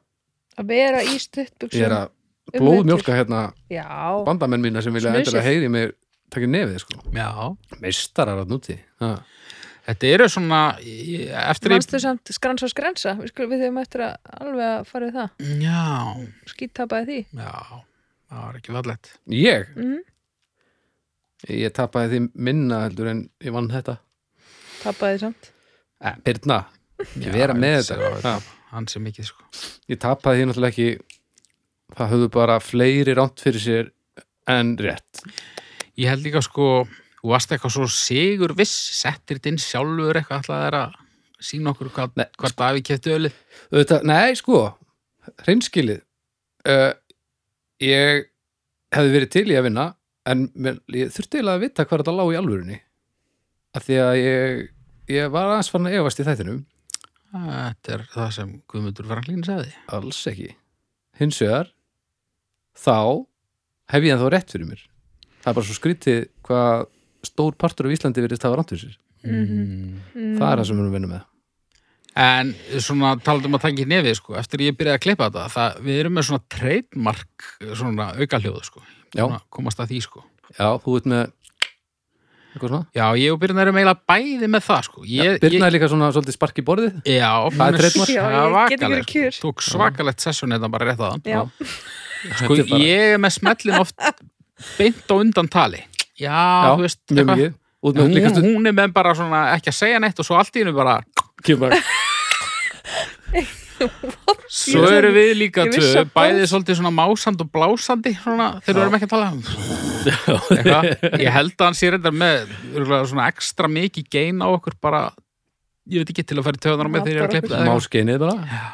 Speaker 3: að vera í
Speaker 2: ég er
Speaker 3: stuttbuxum um
Speaker 2: að blóðmjólka hérna
Speaker 3: já,
Speaker 2: bandamenn mína sem vilja
Speaker 3: Snusið.
Speaker 2: endilega heyri mér takir nefið sko,
Speaker 1: Já,
Speaker 2: meistarar að núti Ha. þetta
Speaker 1: þetta eru svona ég- Eftir ég
Speaker 3: mannstu samt skransa skransa við, skulum, við þurfum eftir að alveg að fara í það
Speaker 1: Já,
Speaker 3: skítapaði því
Speaker 1: já Það var ekki fallegt
Speaker 2: ég,
Speaker 3: Mhm.
Speaker 2: ég tapaði því minna heldur en ég vann þetta
Speaker 3: tapaði samt
Speaker 2: Eh, Birna, ekki
Speaker 1: Já,
Speaker 2: vera
Speaker 1: ég
Speaker 2: með
Speaker 1: vissi
Speaker 2: þetta
Speaker 1: það var-
Speaker 2: Ha.
Speaker 1: Hann sem ekki sko
Speaker 2: ég tapaði því náttúrulega ekki það höfðu bara fleiri ránt fyrir sér en rétt
Speaker 1: Ég held líka sko, þú varst eitthvað svo sigur viss, settir þetta inn sjálfur eitthvað alltaf þeirra að sína okkur hvað,
Speaker 2: Nei, sko.
Speaker 1: hvað Davík kefti ölið.
Speaker 2: Þetta, nei, sko, hreinskilið uh, ég hefði verið til í að vinna en mér, ég þurfti eiginlega að vita hvað þetta lá í alvörunni af því að ég, ég var aðeins farin að efast í þættinum
Speaker 1: Þetta er það sem Guðmundur Franklín sagði.
Speaker 2: alls ekki hins vegar þá hef ég ennþá rétt fyrir mér það er bara svo skrítið hvað stór partur af Íslandi verið stafa ránt fyrir sér
Speaker 3: mm.
Speaker 2: það er það sem við erum að vinna með
Speaker 1: En svona talaðum að taka í nefið sko, eftir ég byrjaði að klippa þetta, það, við erum með svona trademark, svona auka hljóðu sko.
Speaker 2: Já.
Speaker 1: Svona Komast að því sko.
Speaker 2: já, þú veit með eitthvað svona
Speaker 1: Já, ég og Byrna erum eiginlega bæði með það sko. Ég,
Speaker 2: Birna er líka svona svolítið spark í borðið
Speaker 1: ég, já, hún
Speaker 2: er trademark.
Speaker 3: Já,
Speaker 1: það er
Speaker 3: ég get ekki verið
Speaker 1: vakaleg,
Speaker 3: kjur.
Speaker 1: sko. Tók svakalegt sessun þetta bara rétt að hann.
Speaker 3: já,
Speaker 1: Sko,
Speaker 2: Þetta er bara-
Speaker 1: ég er með smellin oft beint á undan tali. Já,
Speaker 2: já,
Speaker 1: þú veist,
Speaker 2: mjög
Speaker 1: eitthvað.
Speaker 2: mikið út með
Speaker 1: Hún,
Speaker 2: líkastu
Speaker 1: hún er með bara svona ekki að segja neitt og svo allt í hennu bara
Speaker 2: kemur
Speaker 1: svo eru við líka
Speaker 3: Ég vissi
Speaker 1: tvö,
Speaker 3: að
Speaker 1: bæðið
Speaker 3: bóð-
Speaker 1: svolítið svona másand og blásandi svona, þegar við erum ekki að tala Eitthvað. ég held að hann sé reyndar með örugglega svona ekstra mikið gein á okkur bara, ég veit ekki til að fara í töðunar með þegar ég er að
Speaker 3: Matar
Speaker 1: klippa það
Speaker 2: máskeinið bara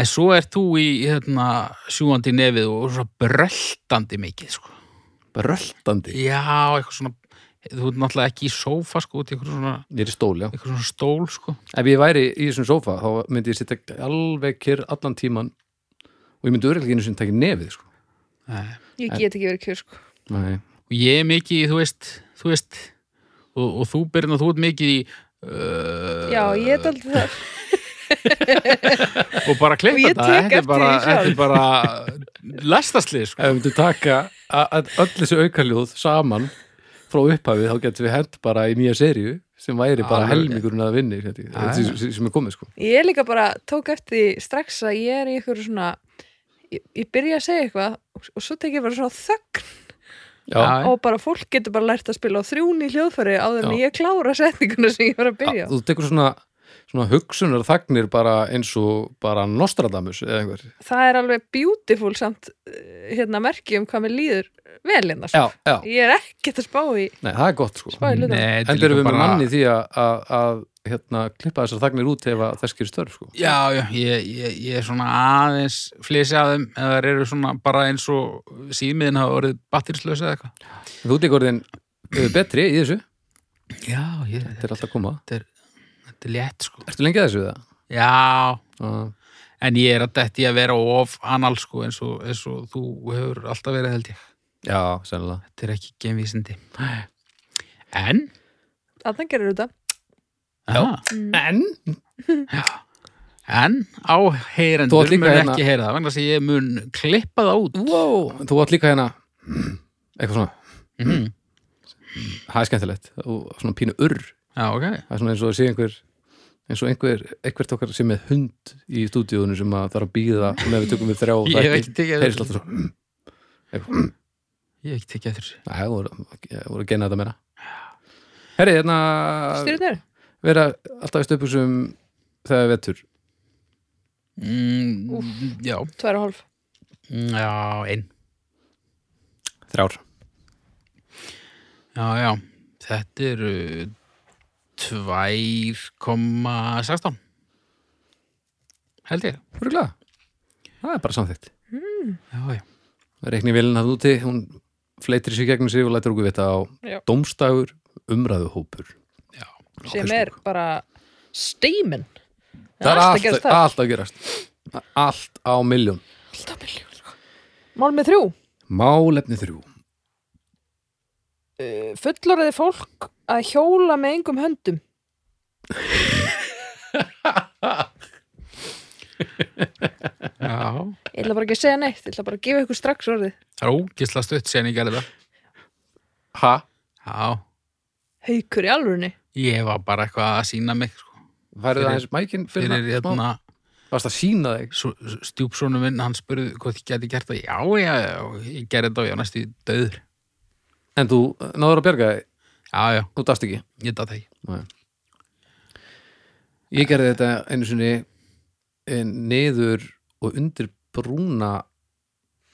Speaker 1: en svo ert þú í hérna, sjúandi í nefið og svona bröltandi mikið sko.
Speaker 2: röltandi
Speaker 1: já, eitthvað svona þú ert náttúrulega ekki í sófa sko, út í eitthvað svona,
Speaker 2: ég er í stól, já
Speaker 1: eitthvað svona stól sko.
Speaker 2: ef ég væri í þessum sófa þá myndi ég sitta alveg kyrr allan tíman og ég myndi örgleginu sem tekið nefið sko.
Speaker 1: Nei.
Speaker 3: ég get ekki verið kjur sko
Speaker 2: nei,
Speaker 1: og ég er mikið í, þú veist, þú veist og, og þú byrna, þú ert mikið í uh,
Speaker 3: já, ég er aldrei það
Speaker 1: og bara
Speaker 3: Og
Speaker 1: klippa
Speaker 3: ég
Speaker 1: þetta, þetta er
Speaker 3: tek eftir
Speaker 1: bara,
Speaker 3: því
Speaker 1: þetta
Speaker 3: sjálf.
Speaker 1: er bara lestaslið, sko
Speaker 2: ef við myndum taka a- að öll þessi aukaljóð saman frá upphafið þá getum við hent bara í nýja serju sem væri bara
Speaker 1: Alveg.
Speaker 2: helmingurinn að vinni þetta,
Speaker 1: Ah,
Speaker 2: þetta sem- sem er komið sko.
Speaker 3: Ég er líka bara, tók eftir því strax að ég er í ykkur svona ég, ég byrja að segja eitthvað og, og svo tek ég bara svona þögn
Speaker 1: Já.
Speaker 3: og bara fólk getur bara lært að spila á þrjún í hljóðfæri áður en
Speaker 2: Já.
Speaker 3: ég klára setninguna sem ég var að byrja á.
Speaker 2: þú tekur svona, svona hugsunar þagnir bara eins og bara Nostradamus eða einhver
Speaker 3: Það er alveg beautiful samt eh, hérna merki um hvað mér líður vel hérna sko.
Speaker 2: já, já,
Speaker 3: Ég er ekkert að spá í
Speaker 2: nei, það er gott sko.
Speaker 3: spá í hlutum
Speaker 1: Nei, þetta
Speaker 2: Endur
Speaker 1: líka
Speaker 2: við með
Speaker 1: bara-
Speaker 2: manni í því að, að, að hérna, klippa þessar þagnir út ef að þess gerir störf sko.
Speaker 1: Já, já, ég, ég, ég er svona aðeins flýsi að þeim eða þeir eru svona bara eins og símiðin hafa orðið batterislösa eða eitthvað
Speaker 2: En Þú tekur orðin uh, betri í þessu
Speaker 1: Já, ég,
Speaker 2: Þetta er alltaf að koma
Speaker 1: þetta er létt, sko
Speaker 2: Ertu lengi að þessu við það?
Speaker 1: Já,
Speaker 2: Uh,
Speaker 1: en ég er að detti að vera of anal, sko, eins og, eins og þú hefur alltaf verið, held ég
Speaker 2: já, sennilega
Speaker 1: Þetta er ekki genvísindi En
Speaker 3: Þannig gerir þetta
Speaker 1: Já.
Speaker 2: En?
Speaker 1: En
Speaker 2: Þú
Speaker 1: áheyrendur
Speaker 2: átt líka
Speaker 1: mun
Speaker 2: hérna-
Speaker 1: ekki heyra það vegna þess að ég mun klippa það út
Speaker 2: Wow. Þú átt líka hérna eitthvað svona,
Speaker 1: mm.
Speaker 2: það er skemmtilegt og svona pínu urr,
Speaker 1: Já, ok
Speaker 2: það er svona eins og að sé einhver eins og einhver, einhvert okkar sem er hund í stúdíunum sem að þarf að býða og með við tökum við þrjá og
Speaker 1: Ég hef ekki tekið
Speaker 2: heyrist
Speaker 1: eftir
Speaker 2: alltaf svo "Mm." eitthvað, "Mm."
Speaker 1: Ég hef ekki tekið eftir þessu.
Speaker 2: Æ, það voru, voru að genna þetta meira Herri, hérna
Speaker 3: Styrnir,
Speaker 2: vera alltaf í stöpusum þegar er vetur
Speaker 1: mm, Já,
Speaker 3: tværa hálf
Speaker 1: Mm, já, einn
Speaker 2: Þrjár
Speaker 1: Já, já, þetta eru 2,16 held ég
Speaker 2: Örugglega. Það er bara samþýtt.
Speaker 1: já, já.
Speaker 2: Reikni vilin að úti, hún fleitir sér gegnum sig og lætur okkur vita á
Speaker 3: Já.
Speaker 2: Dómstagur umræðuhópur.
Speaker 3: sem er bara steimin
Speaker 2: sko. Það er
Speaker 3: allt að
Speaker 2: allt,
Speaker 3: gerast það
Speaker 2: allt að gerast. Allt á miljón.
Speaker 3: alltaf miljón sko. mál með þrjú
Speaker 2: Málefni þrjú.
Speaker 3: uh, fullorðið fólk að hjóla með engum höndum
Speaker 1: já.
Speaker 3: ég ætla bara ekki að segja neitt, ég ætla bara að gefa ykkur strax orðið
Speaker 1: það er ógisla stutt sen ég gerði það
Speaker 2: Ha?
Speaker 1: já,
Speaker 3: haukur í alvörunni
Speaker 1: ég var bara eitthvað að sína mig sko.
Speaker 2: Værið
Speaker 1: Fyrir-
Speaker 2: það aðeins mækinn fyrir,
Speaker 1: fyrir
Speaker 2: fyrir smá?
Speaker 1: hérna
Speaker 2: Varst að sína þig?
Speaker 1: stjúpsónu minn, hann spurði hvort ég geti gert það já, já, já, ég gerði þetta og ég var næstu döður
Speaker 2: En þú náður að bjarga þig?
Speaker 1: já, já,
Speaker 2: Þú dast ekki?
Speaker 1: ég datt ekki
Speaker 2: Nei. Ég gerði þetta einu sinni eh, niður og undir brúna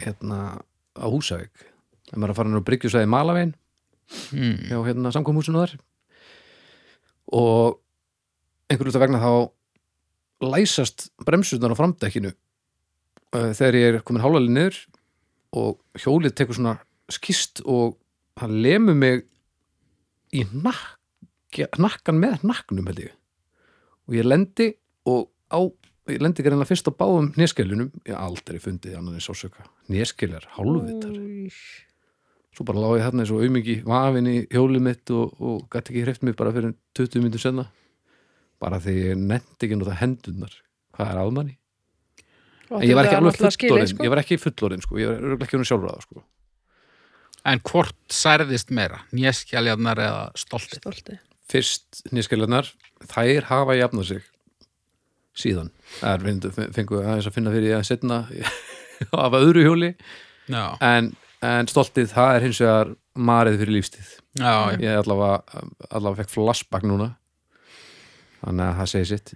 Speaker 2: hérna á Húsavík en maður er að fara hann á Bryggjusæði Malavein
Speaker 1: hmm.
Speaker 2: hjá hérna samkomhúsinu þar og einhverju hluta vegna þá læsast bremsurnar á framdekkinu eh, þegar ég er komin hálfalið niður og hjólið tekur svona skist og hann lemur mig í nakka, nakkan með nakknum held ég og ég lendi og á ég lendi greinlega fyrst á báðum neskjölunum ég hef aldrei fundið annan en sásöka neskjölar, hálfvitar
Speaker 3: Új.
Speaker 2: svo bara lág ég þarna eins og aumingi vafin í hjólið mitt og, og gæti ekki hreift mig bara fyrir 20 minnum senna bara því ég nefndi ekki að nota hendunar hvað er aðmanni
Speaker 3: Og
Speaker 2: en ég var ekki
Speaker 3: þetta er
Speaker 2: alveg fullorinn
Speaker 3: náttúrulega skilið, sko.
Speaker 2: ég var ekki fullorinn sko, ég var örugglega ekki hún sjálfráða sko.
Speaker 1: en hvort særðist meira, nýjaskjaljarnar eða
Speaker 3: sko?
Speaker 1: stoltið
Speaker 3: Stolti.
Speaker 2: fyrst nýskjælunar þær hafa jafnað sig síðan þær vindu, fengu aðeins að finna fyrir ég að setna af öðru hjóli
Speaker 1: já,
Speaker 2: en, en stoltið það er hins vegar marið fyrir lífstíð
Speaker 1: já, já.
Speaker 2: ég allavega, allavega fekk flashback núna þannig að það segi sitt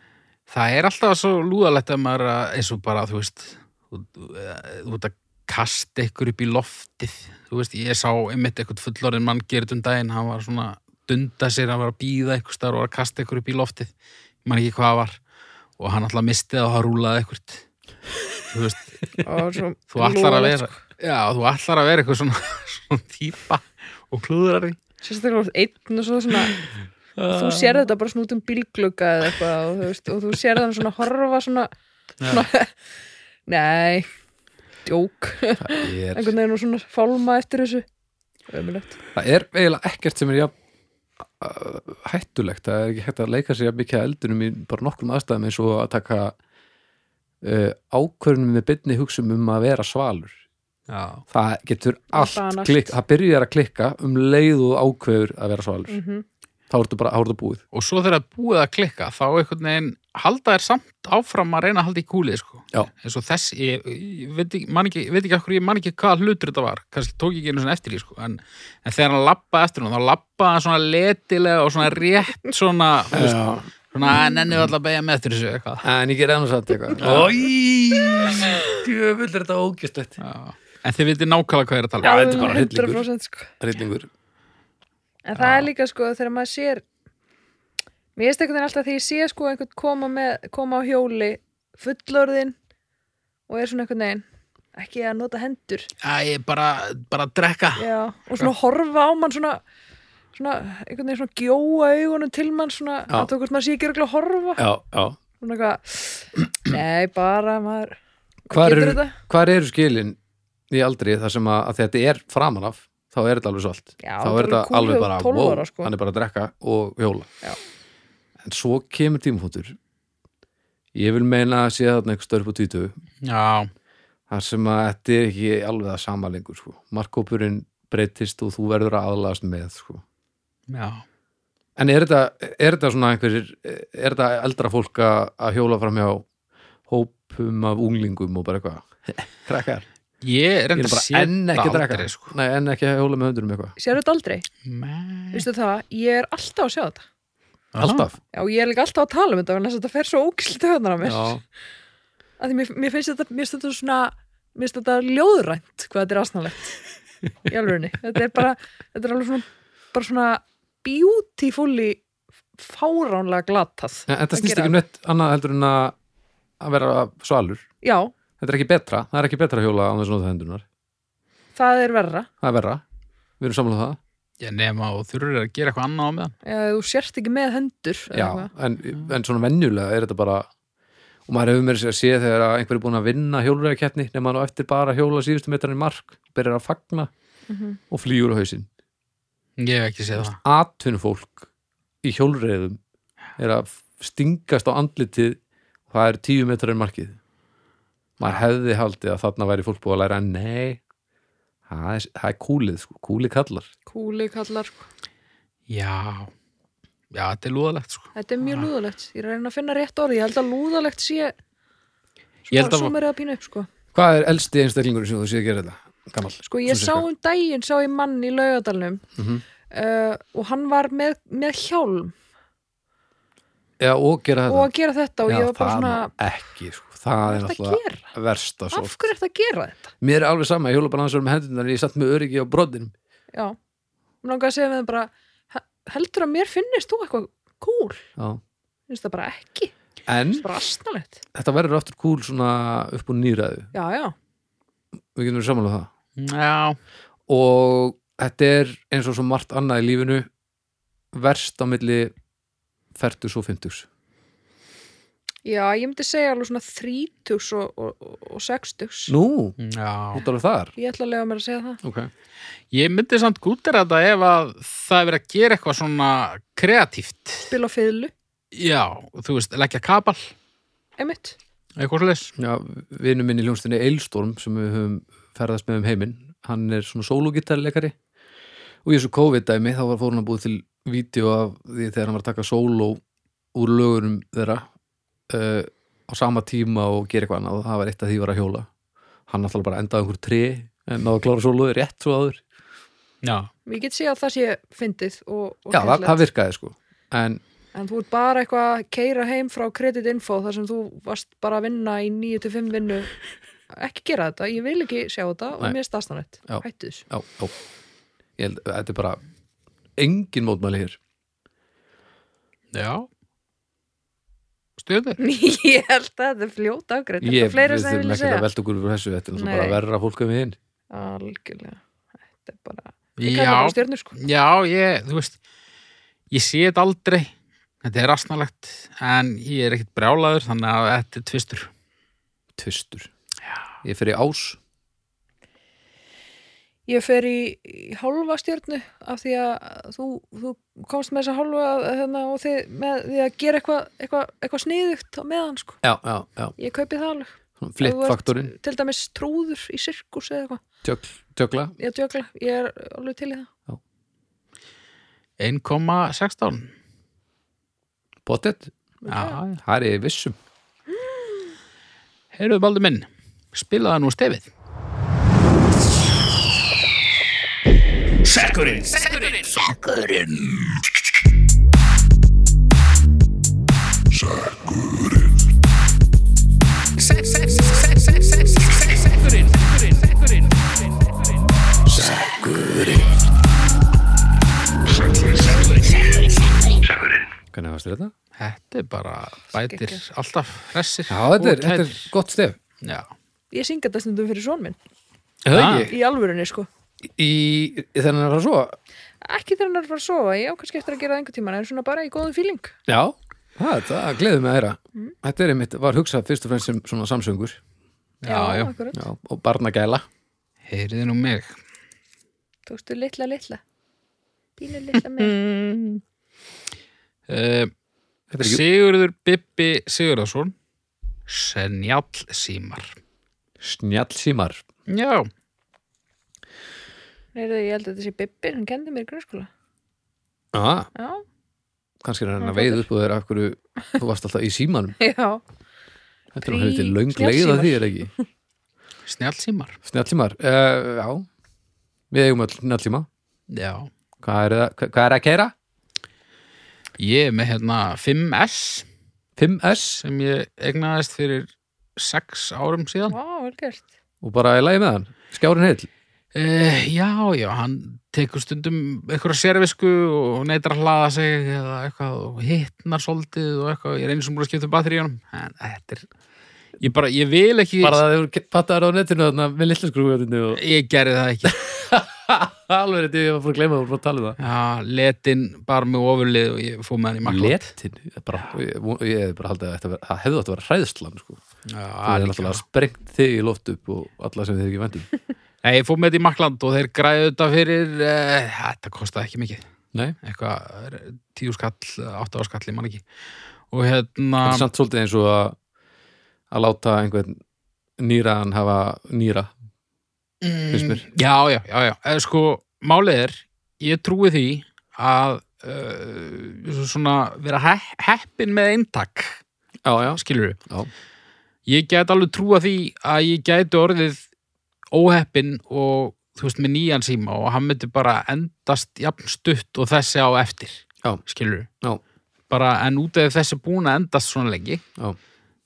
Speaker 1: það er alltaf svo lúðalegt að maður að- eins og bara, þú veist þú þú- eh, þú ert að kasta ykkur upp í loftið þú veist, ég sá einmitt eitthvað fullorinn mann gerði um daginn, hann var svona dunda sér, hann var að býða eitthvað starf og var að kasta ykkur upp í loftið, ég man ekki hvað það var og hann alltaf mistið og það rúlaði eitthvað þú veist,
Speaker 3: Og svo
Speaker 1: þú ætlar að
Speaker 3: lúðalegt,
Speaker 1: vera já, þú ætlar að vera eitthvað svona, svona típa og klúðrar því
Speaker 3: sérstaklega úr einn og svo svona
Speaker 2: Ah.
Speaker 3: þú sér þetta bara svona út um bílglugga eða eitthvað og þú, veist, og þú sér þann svona horfa svona, svona nei, djók
Speaker 2: ég er
Speaker 3: einhvern veginn og svona fálma eftir þessu ömulegt
Speaker 2: Það er eiginlega ekkert sem er jafn, uh, hættulegt, það er ekki hægt að leika sér jafn mikið að eldunum í bara nokkrum aðstæðum eins og að taka uh, ákvörnum með byrni hugsun um að vera svalur.
Speaker 1: já,
Speaker 2: Það getur allt
Speaker 3: banast.
Speaker 2: klikk, það byrjar að klikka um leið og ákveður að vera svalur.
Speaker 3: mm
Speaker 2: Þá ertu bara, þá ertu búið.
Speaker 1: og svo þegar það er búið að klikka þá einhvern veginn halda þér samt áfram að reyna að halda í kúlið sko.
Speaker 2: Já.
Speaker 1: eins og þess, ég, ég veit ekki, man ekki, veit ekki, af hverju, ég man ekki hvað hlutur þetta var kannski tók ég ekki einu svona eftir í sko. en, en þegar hann lappaði eftir hún þá lappaði hann svona letilega og svona rétt svona, þú veist, svona "Æ, nenni við alltaf að beigja með eftir þessu eitthvað
Speaker 2: En ég ger eða satt eitthvað. Ói, djöfull er þetta ógjöstlegt.
Speaker 1: Já. en þið vitið nákvæmlega hvað ég er að tala um.
Speaker 2: þetta er bara hryllingur.
Speaker 3: 100% sko
Speaker 2: Rillingur.
Speaker 3: en það er líka sko þegar maður sér mér veist einhvern veginn alltaf þegar ég sé sko einhvern koma, með, koma á hjóli fullorðin og er svona einhvern veginn ekki að nota hendur
Speaker 1: Æ, ég bara, bara að drekka
Speaker 3: Já, og svona horfa á mann svona svona, einhvern veginn svona gjóa augunum til mann svona,
Speaker 2: Já.
Speaker 3: að þú veist maður sé ekki örugglega að horfa
Speaker 2: Já, já.
Speaker 3: svona eitthvað nei, bara maður
Speaker 2: Hvar
Speaker 3: getur
Speaker 2: eru-
Speaker 3: þetta
Speaker 2: Hvar eru skilin í aldri þar sem að, að þetta er framan af þá er þetta alveg svolt
Speaker 3: Já,
Speaker 2: þá er þetta alveg
Speaker 3: kúlugur
Speaker 2: bara,
Speaker 3: 12
Speaker 2: wow,
Speaker 3: ára, sko.
Speaker 2: hann er bara að drekka og hjóla
Speaker 3: Já.
Speaker 2: en svo kemur tímapunktur ég vil meina að sé þarna einhver störf á 20
Speaker 1: já,
Speaker 2: þar sem að þetta er ekki alveg að sama lengur sko. markkópurinn breytist og þú verður að aðlast með sko.
Speaker 1: já
Speaker 2: en er þetta, er þetta svona einhverjir er þetta eldra fólk að að hjóla fram hjá hópum af unglingum og bara eitthvað krakkar
Speaker 1: Ég
Speaker 2: Ég
Speaker 1: reyndi
Speaker 2: er
Speaker 1: að
Speaker 2: bara
Speaker 1: sé
Speaker 2: enn
Speaker 1: þetta
Speaker 2: ekki að
Speaker 1: aldrei,
Speaker 2: drekka.
Speaker 1: sko.
Speaker 2: Nei, en ekki að hjóla með höndunum eitthvað
Speaker 3: sér þetta aldrei,
Speaker 2: Mm.
Speaker 1: Nei.
Speaker 3: veistu það, ég er alltaf að sjá þetta
Speaker 2: Alltaf
Speaker 3: já, og ég er líka alltaf að tala um þetta en þetta fer svo ógæslega töðunar á mér
Speaker 2: Já,
Speaker 3: að því mér, mér finnst þetta, mér finnst þetta svona mér finnst þetta ljóðrænt hvað þetta er aðsnalegt í alvegni, þetta er bara þetta er alveg svona, bara svona beautifully fáránlega glatað
Speaker 2: En þetta
Speaker 3: að
Speaker 2: snýst
Speaker 3: gera.
Speaker 2: ekki um neitt annað heldur en að að vera svalur
Speaker 3: Já,
Speaker 2: Þetta er ekki betra, það er ekki betra að hjóla á þess að nota hendunar,
Speaker 3: það er verra
Speaker 2: það er verra Við erum samlega það,
Speaker 1: Ég nema og þurfur að gera eitthvað annað á meðan.
Speaker 3: eða þú sért ekki með hendur eða
Speaker 2: já,
Speaker 3: eitthvað.
Speaker 2: en, en svona venjulega er þetta bara og maður hefur meira sér að sé þegar að einhver er búin að vinna hjóluræðakeppni nema hann á eftir bara að hjóla síðustu metran í mark byrjar að fagna
Speaker 3: Mhm.
Speaker 2: og flýur á hausinn
Speaker 1: Ég hef ekki séð það.
Speaker 2: atvinnufólk í hjólreiðum er að stingast á andlitið og það er tíu metrar en markið maður hefði haldið að þarna væri fólk búið að læra en nei, það er, það er kúlið sko, kúlið kallar
Speaker 3: Kúli kallar, sko.
Speaker 1: Já, já, þetta er lúðalegt sko.
Speaker 3: þetta er
Speaker 2: Ah.
Speaker 3: mjög lúðalegt Ég er að reyna að finna rétt orð, ég held að lúðalegt sé
Speaker 1: Ég held að-
Speaker 3: Svo mér er að pína upp, sko
Speaker 2: hvað er elsti einstaklingur sem þú sé að gera þetta gammal
Speaker 3: Sko ég
Speaker 2: Svona
Speaker 3: sá
Speaker 2: cirka.
Speaker 3: um daginn, sá ég mann í laugadalnum
Speaker 2: Mhm.
Speaker 3: uh, og hann var með, með hjálm
Speaker 2: Já, og gera þetta
Speaker 3: og að gera þetta og
Speaker 2: Já,
Speaker 3: ég var bara
Speaker 2: það
Speaker 3: svona
Speaker 2: má ekki, sko, það er
Speaker 3: Hvað er þetta að
Speaker 2: alltaf
Speaker 3: gera?
Speaker 2: versta svo
Speaker 3: Af hverju er þetta að gera þetta?
Speaker 2: mér er alveg sama, ég hjóla bara aðeins verið með hendunar ég satt með öryggi á broddinum
Speaker 3: Já, mér langar að segja með það bara he- heldur að mér finnist þú eitthvað cool
Speaker 2: Já.
Speaker 3: finnst það bara ekki,
Speaker 2: en
Speaker 3: finnst það bara astnalegt
Speaker 2: þetta verður aftur kúl svona upp úr nýræðu
Speaker 3: Já, já,
Speaker 2: við getum við samanlega það
Speaker 1: Já,
Speaker 2: og þetta er eins og svo margt annað í lífinu verst á milli færtus og fymtugs
Speaker 3: já, ég myndi segja alveg svona þrítugs og, og, og, og sextugs
Speaker 2: Nú,
Speaker 1: já.
Speaker 2: út alveg þar
Speaker 3: Ég ætla að lega mér að segja það
Speaker 2: okay.
Speaker 1: Ég myndi samt gútir þetta ef að það er verið að gera eitthvað svona kreatíft.
Speaker 3: Spila á fiðlu,
Speaker 1: Já, þú veist, leggja kapal,
Speaker 3: einmitt
Speaker 1: eitthvað slags.
Speaker 2: Já, vinur minn í ljónstinni Eilstorm sem við höfum ferðast með um heiminn hann er svona sólogitarleikari og í þessu COVID-dæmi þá var fór hann að búið til vídeo af því þegar hann var að taka sóló úr lögurum þeirra uh, á sama tíma og gera eitthvað annað og það var eitt af því var að hjóla hann náttúrulega bara endaði á einhver tre en náðu að klára sólóði rétt svo áður
Speaker 1: Já.
Speaker 3: Ég get segja að það sé fyndið og,
Speaker 2: Já,
Speaker 3: og
Speaker 2: það,
Speaker 3: skemmtilegt.
Speaker 2: það virkaði sko en
Speaker 3: En þú ert bara eitthvað að keira heim frá Credit Info þar sem þú varst bara að vinna í 9-5 vinnu. Ekki gera þetta, ég vil ekki sjá þetta og
Speaker 2: Nei.
Speaker 3: mér staðstanrætt.
Speaker 2: Já.
Speaker 3: Hættu þessu.
Speaker 2: já, já, ég held þetta er bara engin mótmæli hér
Speaker 1: Já. Stöður.
Speaker 3: ég held að þetta er fljóta afgreitt. Þetta
Speaker 2: ég,
Speaker 3: er fleira
Speaker 2: við
Speaker 3: sem ég
Speaker 2: þurfum
Speaker 3: vil
Speaker 2: ekki að
Speaker 3: segja.
Speaker 2: velta okkur fyrir þessu þetta er náttúrulega
Speaker 3: Nei.
Speaker 2: bara verra fólk um hinn
Speaker 3: Algjörlega. Þetta er bara, ég kalla
Speaker 1: Já,
Speaker 3: bara stjörnur sko.
Speaker 1: já, ég, þú veist, ég sé þetta aldrei. Þetta er rastnalegt, en ég er ekkert brjálaður, þannig að þetta er tvistur.
Speaker 2: tvistur ég fer í ás
Speaker 3: Ég fer í, í hálfa stjörnu af því að þú, þú komst með þessa hálfa hérna, og þið, með því að gera eitthvað eitthva, eitthva sniðugt á meðan sko.
Speaker 2: já, já, já,
Speaker 3: Ég kaupi það alveg. Ef þú ert
Speaker 2: flipfaktorinn
Speaker 3: Til dæmis trúður í sirkus eða eitthvað.
Speaker 2: tjögl, tjögla,
Speaker 3: Ég djögla, ég er alveg til í það.
Speaker 1: 1,16.
Speaker 2: pottet
Speaker 1: Já,
Speaker 3: Mm.
Speaker 1: já.
Speaker 2: það er ég vissum
Speaker 1: Heyrðu baldur minn, spilaðu nú stefið.
Speaker 2: hvernig varst þetta?
Speaker 1: Þetta er bara bætir
Speaker 3: Skeggjað.
Speaker 1: alltaf hressir
Speaker 2: já, þetta er,
Speaker 1: og
Speaker 2: þetta er
Speaker 1: kætir.
Speaker 2: gott stef
Speaker 1: Já.
Speaker 3: Ég syng þetta stundum fyrir són minn.
Speaker 1: Það
Speaker 2: ekki?
Speaker 3: Í alvörunni, sko.
Speaker 2: í þennan að fara svo
Speaker 3: Ekki þegar hann er að fara að sofa, ég á kannski eftir að gera það einhver tíma, en svona bara í góðum fíling.
Speaker 2: já, það, það gleður mig að þeirra
Speaker 3: Mm.
Speaker 2: þetta er einmitt, var hugsað fyrst og fremst sem svona samsöngur
Speaker 1: Já, já.
Speaker 3: akkurat.
Speaker 2: já, og barnagæla
Speaker 1: Heyriði nú mig
Speaker 3: Tókstu litla, litla. Pínu litla með.
Speaker 1: uh,
Speaker 2: þetta er ekki
Speaker 1: Sigurður Bibbi Sigurðarsson Senjall Símar
Speaker 2: snjallsímar
Speaker 1: Já,
Speaker 3: Nei, ég held að þetta sé Bibbi, hann kendi mér í grunnskóla.
Speaker 2: ah,
Speaker 3: Já,
Speaker 2: kannski er hann
Speaker 3: Já,
Speaker 2: að veið upp og þeir af hverju þú varst alltaf í símanum
Speaker 3: já.
Speaker 2: þetta er hann hefði
Speaker 3: Prí-
Speaker 2: löng leið að
Speaker 3: snjallsímar.
Speaker 2: því er ekki
Speaker 1: Snjall Símar
Speaker 2: snjallsímar, uh, já við eigum öll snjallsíma
Speaker 1: Já,
Speaker 2: hvað er, það- hvað er að keira?
Speaker 1: ég er með hérna 5S
Speaker 2: 5S
Speaker 1: sem ég egnaðist fyrir 6 árum síðan
Speaker 3: Vá, vel gert.
Speaker 2: og bara í lagi með hann skjárin heil
Speaker 1: uh, Eh, Já, já, hann tekur stundum eitthvað sérvisku og neytar að hlaða sig eða eitthvað og hittnar soldið og eitthvað, ég er einu sem búin að skipta um batteri í honum en þetta er, ég bara, ég vil ekki
Speaker 2: bara það hefur pattaður á netinu þarna með lillaskrúfjöndinu og
Speaker 1: ég gerði það ekki
Speaker 2: alveg þetta ég var bara að gleyma það og bara að tala um það
Speaker 1: Já, letin bara með ofurlið og ég fóð með hann í makla
Speaker 2: Letinu, ég bara, ég, von- ég hefði bara haldið að þetta vera- það hefði átt að vera hræðslan sko. það er
Speaker 1: Já,
Speaker 2: náttúrulega sprengt þig í loft upp og alla sem þið ekki vendum
Speaker 1: Nei, ég fóð með þetta í makland og þeir græðu þetta fyrir, uh, þetta kostaði ekki mikið,
Speaker 2: Nei,
Speaker 1: eitthvað eh, tíu skall, eh, átta á skall, ég man ekki. Og hérna,
Speaker 2: þetta er samt svolítið eins og að, að láta einhvern nýraðan hafa nýra finnst mér.
Speaker 1: Mm, já, já, já, já, eða sko, málið er, ég trúi því að uh, svona vera he heppin með eintak,
Speaker 2: Já, já,
Speaker 1: skilur við.
Speaker 2: Já.
Speaker 1: Ég gæti alveg trúa því að ég gæti orðið óheppin og, þú veist, með nýjan síma og hann myndi bara endast jafn stutt og þessi á eftir,
Speaker 2: Já.
Speaker 1: skilur við.
Speaker 2: já,
Speaker 1: bara en út af þessi búin að endast svona lengi
Speaker 2: Já.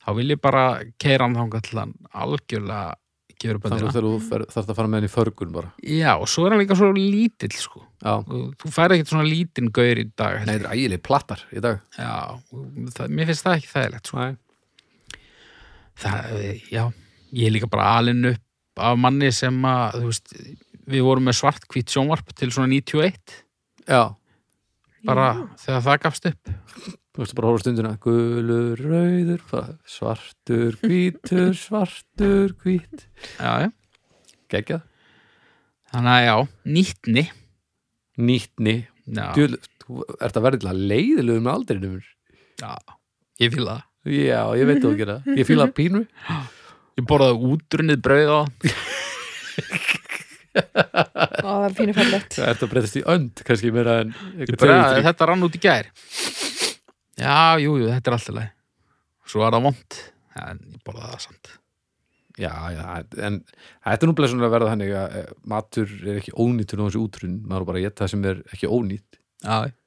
Speaker 1: þá vil ég bara keira hann þangað til hann algjörlega gefur upp
Speaker 2: þannig að
Speaker 1: öndina
Speaker 2: þegar þú fer- þarft að fara með henni í förgun bara
Speaker 1: já og svo er hann líka svo lítill sko
Speaker 2: Já,
Speaker 1: Og þú færi ekkert svona lítinn gaur í dag
Speaker 2: nei, þetta er ægileg plattar í dag
Speaker 1: já, og það, mér finnst það ekki þægilegt sko.
Speaker 2: Nei,
Speaker 1: það, já, ég er líka bara alinn upp af manni sem að þú veist, við vorum með svart hvít sjónvarp til svona 91
Speaker 2: já,
Speaker 1: bara þegar það gafst upp
Speaker 2: Þú veist bara að horfa á stundina Gulur, rauður, bara svartur, hvítur, svartur, hvít
Speaker 1: já, já.
Speaker 2: Gekkjað
Speaker 1: þannig að já, nýttni
Speaker 2: Nýttni
Speaker 1: já,
Speaker 2: Djöl, Þú ert að verða til að leiðilegur með aldrinum
Speaker 1: já, ég fíla það
Speaker 2: Já, ég veit þú ekki það Ég fíla pínu
Speaker 1: ég borðaði útrunnið brauð á
Speaker 3: Ó, það er pínu fallegt
Speaker 2: Það ert að breytast í önd, kannski meira en
Speaker 1: Ég bara, þetta rann út í gær Já, jú, jú, þetta er alltaf leið Svo var það vond En ég borða það samt
Speaker 2: Já, já, en þetta er nú blessunlega að verða þannig að eh, matur er ekki ónýttur á þessu útrun, maður er bara að geta það sem er ekki ónýtt
Speaker 1: Já, ég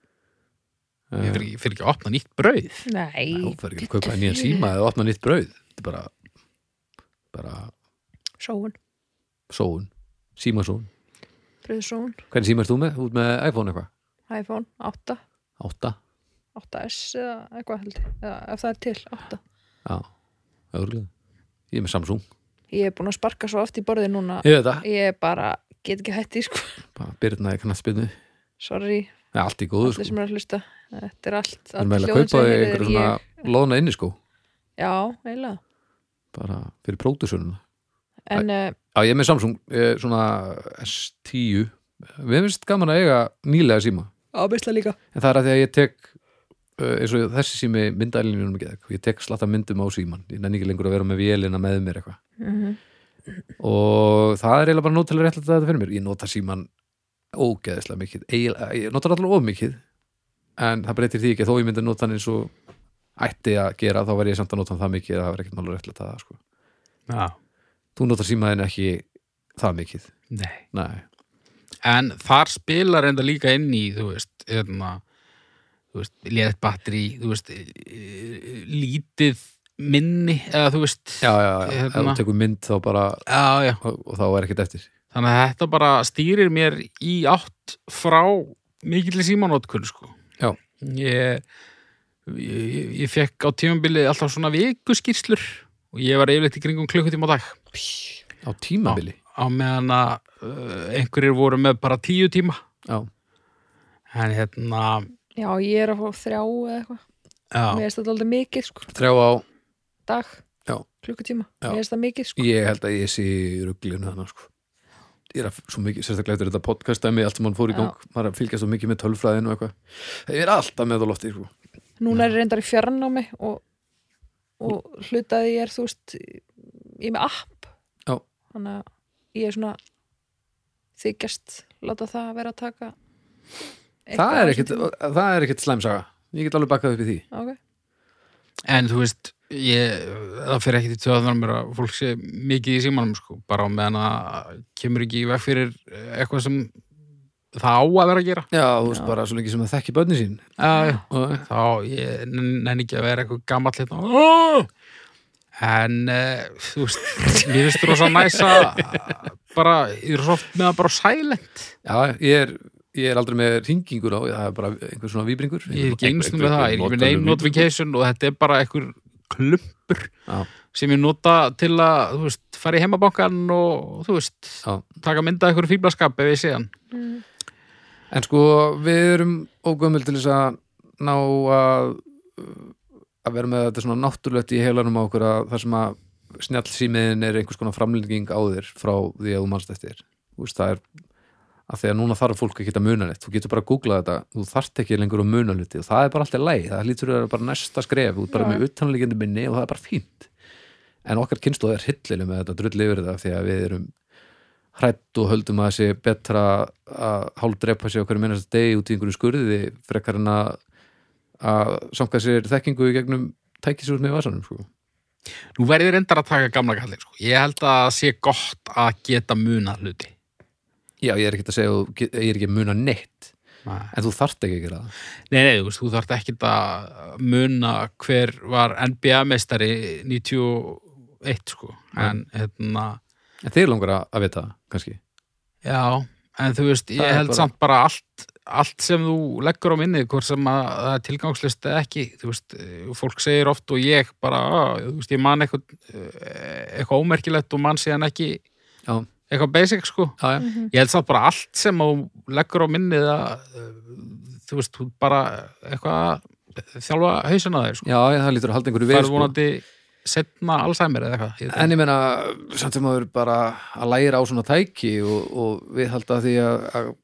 Speaker 2: Eh,
Speaker 1: fyrir, ég fyrir ekki að opna nýtt brauð
Speaker 2: Þú
Speaker 3: Nei,
Speaker 2: fer ekki að kaupa nýjan síma eða opna nýtt brauð Þetta er bara, bara
Speaker 3: sóun,
Speaker 2: sóun, símasóun
Speaker 3: bröðsóun
Speaker 2: Hvernig síma ert þú með? Út með iPhone eitthvað?
Speaker 3: iPhone 8,
Speaker 2: Átta?
Speaker 3: 8S eða eitthvað held ég. eða ef það er til, 8
Speaker 2: Já, öðrulega Ég er með Samsung
Speaker 3: Ég er búin að sparka svo oft í borðið núna
Speaker 2: Ég veit það,
Speaker 3: Ég bara get ekki hætti, sko
Speaker 2: bara byrna í knattspinnu
Speaker 3: Sorry,
Speaker 2: Nei, allt í góðu
Speaker 3: allir
Speaker 2: sko
Speaker 3: sem eru að hlusta Þetta er allt,
Speaker 2: Það er meðlega að
Speaker 3: hljóðin
Speaker 2: kaupa
Speaker 3: sem heyrið
Speaker 2: einhverja
Speaker 3: er
Speaker 2: svona
Speaker 3: ég-
Speaker 2: loðna inni sko
Speaker 3: Já, eiginlega
Speaker 2: bara fyrir pródusöruna
Speaker 3: En uh,
Speaker 2: Já, ég er með Samsung, eh, svona S10 Við finnst gaman að eiga nýlega síma
Speaker 3: ábyrsta líka
Speaker 2: en það er að því að ég tek eh, eins og þessi sími myndælinum ekki og sko. ég tek slatta myndum á síman ég nenni ekki lengur að vera með vélina með mér eitthvað
Speaker 3: Mhm.
Speaker 2: og það er eiginlega bara nótilega rétt að þetta fyrir mér ég nota síman ógeðislega mikið eiginlega, ég nota allar of mikið en það breytir því ekki að þó ég myndi að nota hann eins og ætti að gera þá væri ég samt að nota hann það mikið að það væri ekkert mála rétt að það sko.
Speaker 1: Já,
Speaker 2: þú notar símaðin ekki það mikið
Speaker 1: nei
Speaker 2: Nei.
Speaker 1: En þar spilar enda líka inn í, þú veist, hérna þú veist, létt batteri þú veist, eh, lítið minni, eða þú veist
Speaker 2: já, já, já,
Speaker 1: Hérna.
Speaker 2: ef þú tekur mynd þá bara
Speaker 1: já, já.
Speaker 2: og, og þá er ekkert eftir
Speaker 1: Þannig að þetta bara stýrir mér í átt frá mikill símanótkun, sko.
Speaker 2: Já.
Speaker 1: Ég, ég, ég fekk á tímambili alltaf svona vikuskýrslur og ég var yfirleitt í kringum klukkutíma á dag
Speaker 2: á tímabili
Speaker 1: á meðan að uh, einhverjir voru með bara tíu tíma.
Speaker 2: já.
Speaker 1: En hérna,
Speaker 3: Já, ég er að fá þrjá eða eitthvað Mér
Speaker 1: já,
Speaker 3: finnst þetta aldrei mikið, sko
Speaker 2: þrjá á,
Speaker 3: Dag,
Speaker 2: Já.
Speaker 3: klukkutíma
Speaker 2: Já.
Speaker 3: Mér finnst það mikið, sko
Speaker 2: ég held að ég sé rugglinu þannig sko Ég er að svo mikið, sérstaklega eftir þetta podcast dæmi, allt sem hann fór í
Speaker 3: Já.
Speaker 2: gang, maður er að fylgja svo mikið með tölfræðin og eitthvað. Ég er alltaf með það lofti, sko.
Speaker 3: Núna er ég reyndar í fjarnámi og, og hlutaði ég er, þú veist, ég er með app.
Speaker 2: Já.
Speaker 3: Þannig að ég er svona þykjast, láta það vera að taka.
Speaker 2: Það er,
Speaker 3: af
Speaker 2: ekkit,
Speaker 3: þessum tíma.
Speaker 2: það er ekkit slæmsaga. Ég get alveg bakkað upp í því.
Speaker 3: Ok,
Speaker 1: en þú veist, ég, það fyrir ekkit í tjóðanar mér að fólk sé mikið í símanum, sko, bara á meðan að kemur ekki í veg fyrir eitthvað sem það á að vera að gera. Eh,
Speaker 2: Já, þú veist bara svo lengi sem það þekki börni sín.
Speaker 1: Já, já.
Speaker 2: Og,
Speaker 1: þá ég nenni ekki að vera eitthvað gammal hérna Ó! en uh, þú veist, mér finnst rosa næsa bara, ég er svo oft með að bara silent
Speaker 2: Já, ég er, ég er aldrei með hringingur á, það er bara einhver svona víbringur
Speaker 1: ég er ekki
Speaker 2: Einhver-
Speaker 1: einstum
Speaker 2: einhver-
Speaker 1: með það, ég er ekki með
Speaker 2: notalegur
Speaker 1: name notification og þetta er bara einhver klumpur
Speaker 2: Já.
Speaker 1: sem ég nota til að, þú veist, fara í heimabankan og, þú veist,
Speaker 2: Já.
Speaker 1: taka mynda einhver fíblaskap ef ég sé hann
Speaker 2: víbringur. En sko, við erum ógömmul til þess að ná að að vera með þetta svona náttúrulegt í heilanum á okkur að það sem að snjallsýmiðin er einhvers konar framlenging á þér frá því að þú manst eftir Þú veist, það er að því að núna þarf fólk ekki að muna neitt þú getur bara að googla þetta, þú þarft ekki lengur að muna hluti og það er bara alltaf læg, það lítur að vera bara næsta skref, þú er bara
Speaker 3: Já.
Speaker 2: með utanlegjandi minni og það er bara fínt en okkar kynslu er hillileg með þetta drulli yfir þetta af því að við erum hrætt og höldum að það sé betra að hálfdrepa sig okkur minnast degi út í einhverju skurði frekar en að, að samka sér þekkingu í gegnum tækisúr með vasanum sko.
Speaker 1: Nú verður reyndar að taka gamla kallin sko. Ég held að það sé gott að geta muna hluti.
Speaker 2: Já, ég er ekki að segja, að þú get- ég er ekki að muna neitt
Speaker 1: Nei,
Speaker 2: en þú þarft ekki að gera það
Speaker 1: nei, þú veist, þú þarft ekkit að muna hver var NBA-meistari 91 sko. En, hérna,
Speaker 2: en þeir langar að að vita, það, kannski
Speaker 1: já, en þú veist,
Speaker 2: Það
Speaker 1: ég
Speaker 2: er
Speaker 1: held
Speaker 2: bara-
Speaker 1: samt bara allt, allt sem þú leggur á minnið, hvort sem að það er tilgangslist eða ekki, þú veist, eh, fólk segir oft og ég bara, "Ah, þú veist, ég man eitthvað, eh, eitthvað ómerkilegt og man síðan ekki
Speaker 2: Já.
Speaker 1: eitthvað basic sko.
Speaker 2: Já, já.
Speaker 3: Mhm.
Speaker 1: ég held samt bara allt sem þú leggur á minnið að uh, þú veist, þú bara eitthvað að þjálfa hausina þér sko.
Speaker 2: Já, já, það lítur að halda
Speaker 1: það
Speaker 2: einhverju við
Speaker 1: er vonandi setna Alzheimer eða eitthvað ég,
Speaker 2: sko. En ég meina, samt sem maður bara að læra á svona tæki og, og við halda því að, að,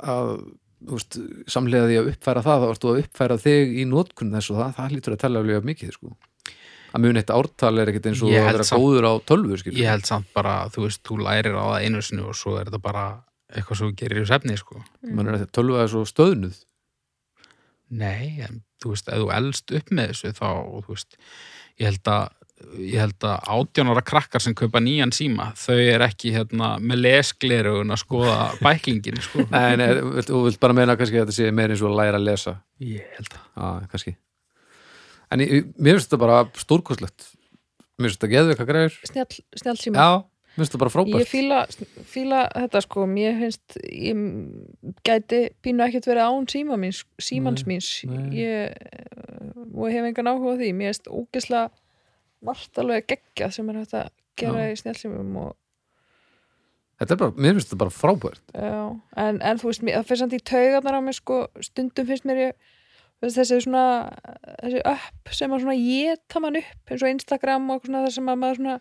Speaker 2: að þú veist, samlega því að uppfæra það þá ertu að uppfæra þig í nótkunn þess og það, það lítur að tella alveg mikið sko. að mun eitt ártal er ekkit eins og
Speaker 1: Ég
Speaker 2: að
Speaker 1: held
Speaker 2: vera
Speaker 1: samt-
Speaker 2: góður á tölvu skilur.
Speaker 1: ég held samt bara, þú veist, þú lærir á það einu sinni og svo er þetta bara eitthvað sem þú gerir í sefni sko.
Speaker 2: Man er að tölva er svo stöðnuð
Speaker 1: nei, en þú veist, ef þú elst upp með þessu þá, þú veist ég held að ég held að átjónara krakkar sem kaupa nýjan síma þau er ekki hérna með lesklerugun að skoða bæklingin sko.
Speaker 2: Nei, nei, þú eh, vilt- þú vilt bara meina kannski að þetta sé meir eins og að læra að lesa
Speaker 1: ég held að
Speaker 2: Já, kannski En ég, mér finnst þetta bara stórkostlegt Mér finnst þetta geðveika greiður
Speaker 3: Snjall, snjall síma
Speaker 2: Já, mér finnst þetta bara frábært
Speaker 3: Ég fíla, fíla þetta sko, mér finnst, ég gæti pínu ekkert verið án síma míns, símans
Speaker 2: Nei,
Speaker 3: míns,
Speaker 2: nei.
Speaker 3: ég eh, og hef engan áhuga á því, mér finnst ógeðslega margt alveg geggja sem er hægt að gera
Speaker 2: Já.
Speaker 3: í snjálsímum og
Speaker 2: Þetta er bara, mér finnst þetta bara frábært
Speaker 3: Já, en, en þú veist, mér- það fyrir samt í taugarnar á mér sko, stundum finnst mér ég þú veist, þessi svona, þessi upp sem að svona geta mann upp eins og Instagram og eitthvað svona þar sem að maður svona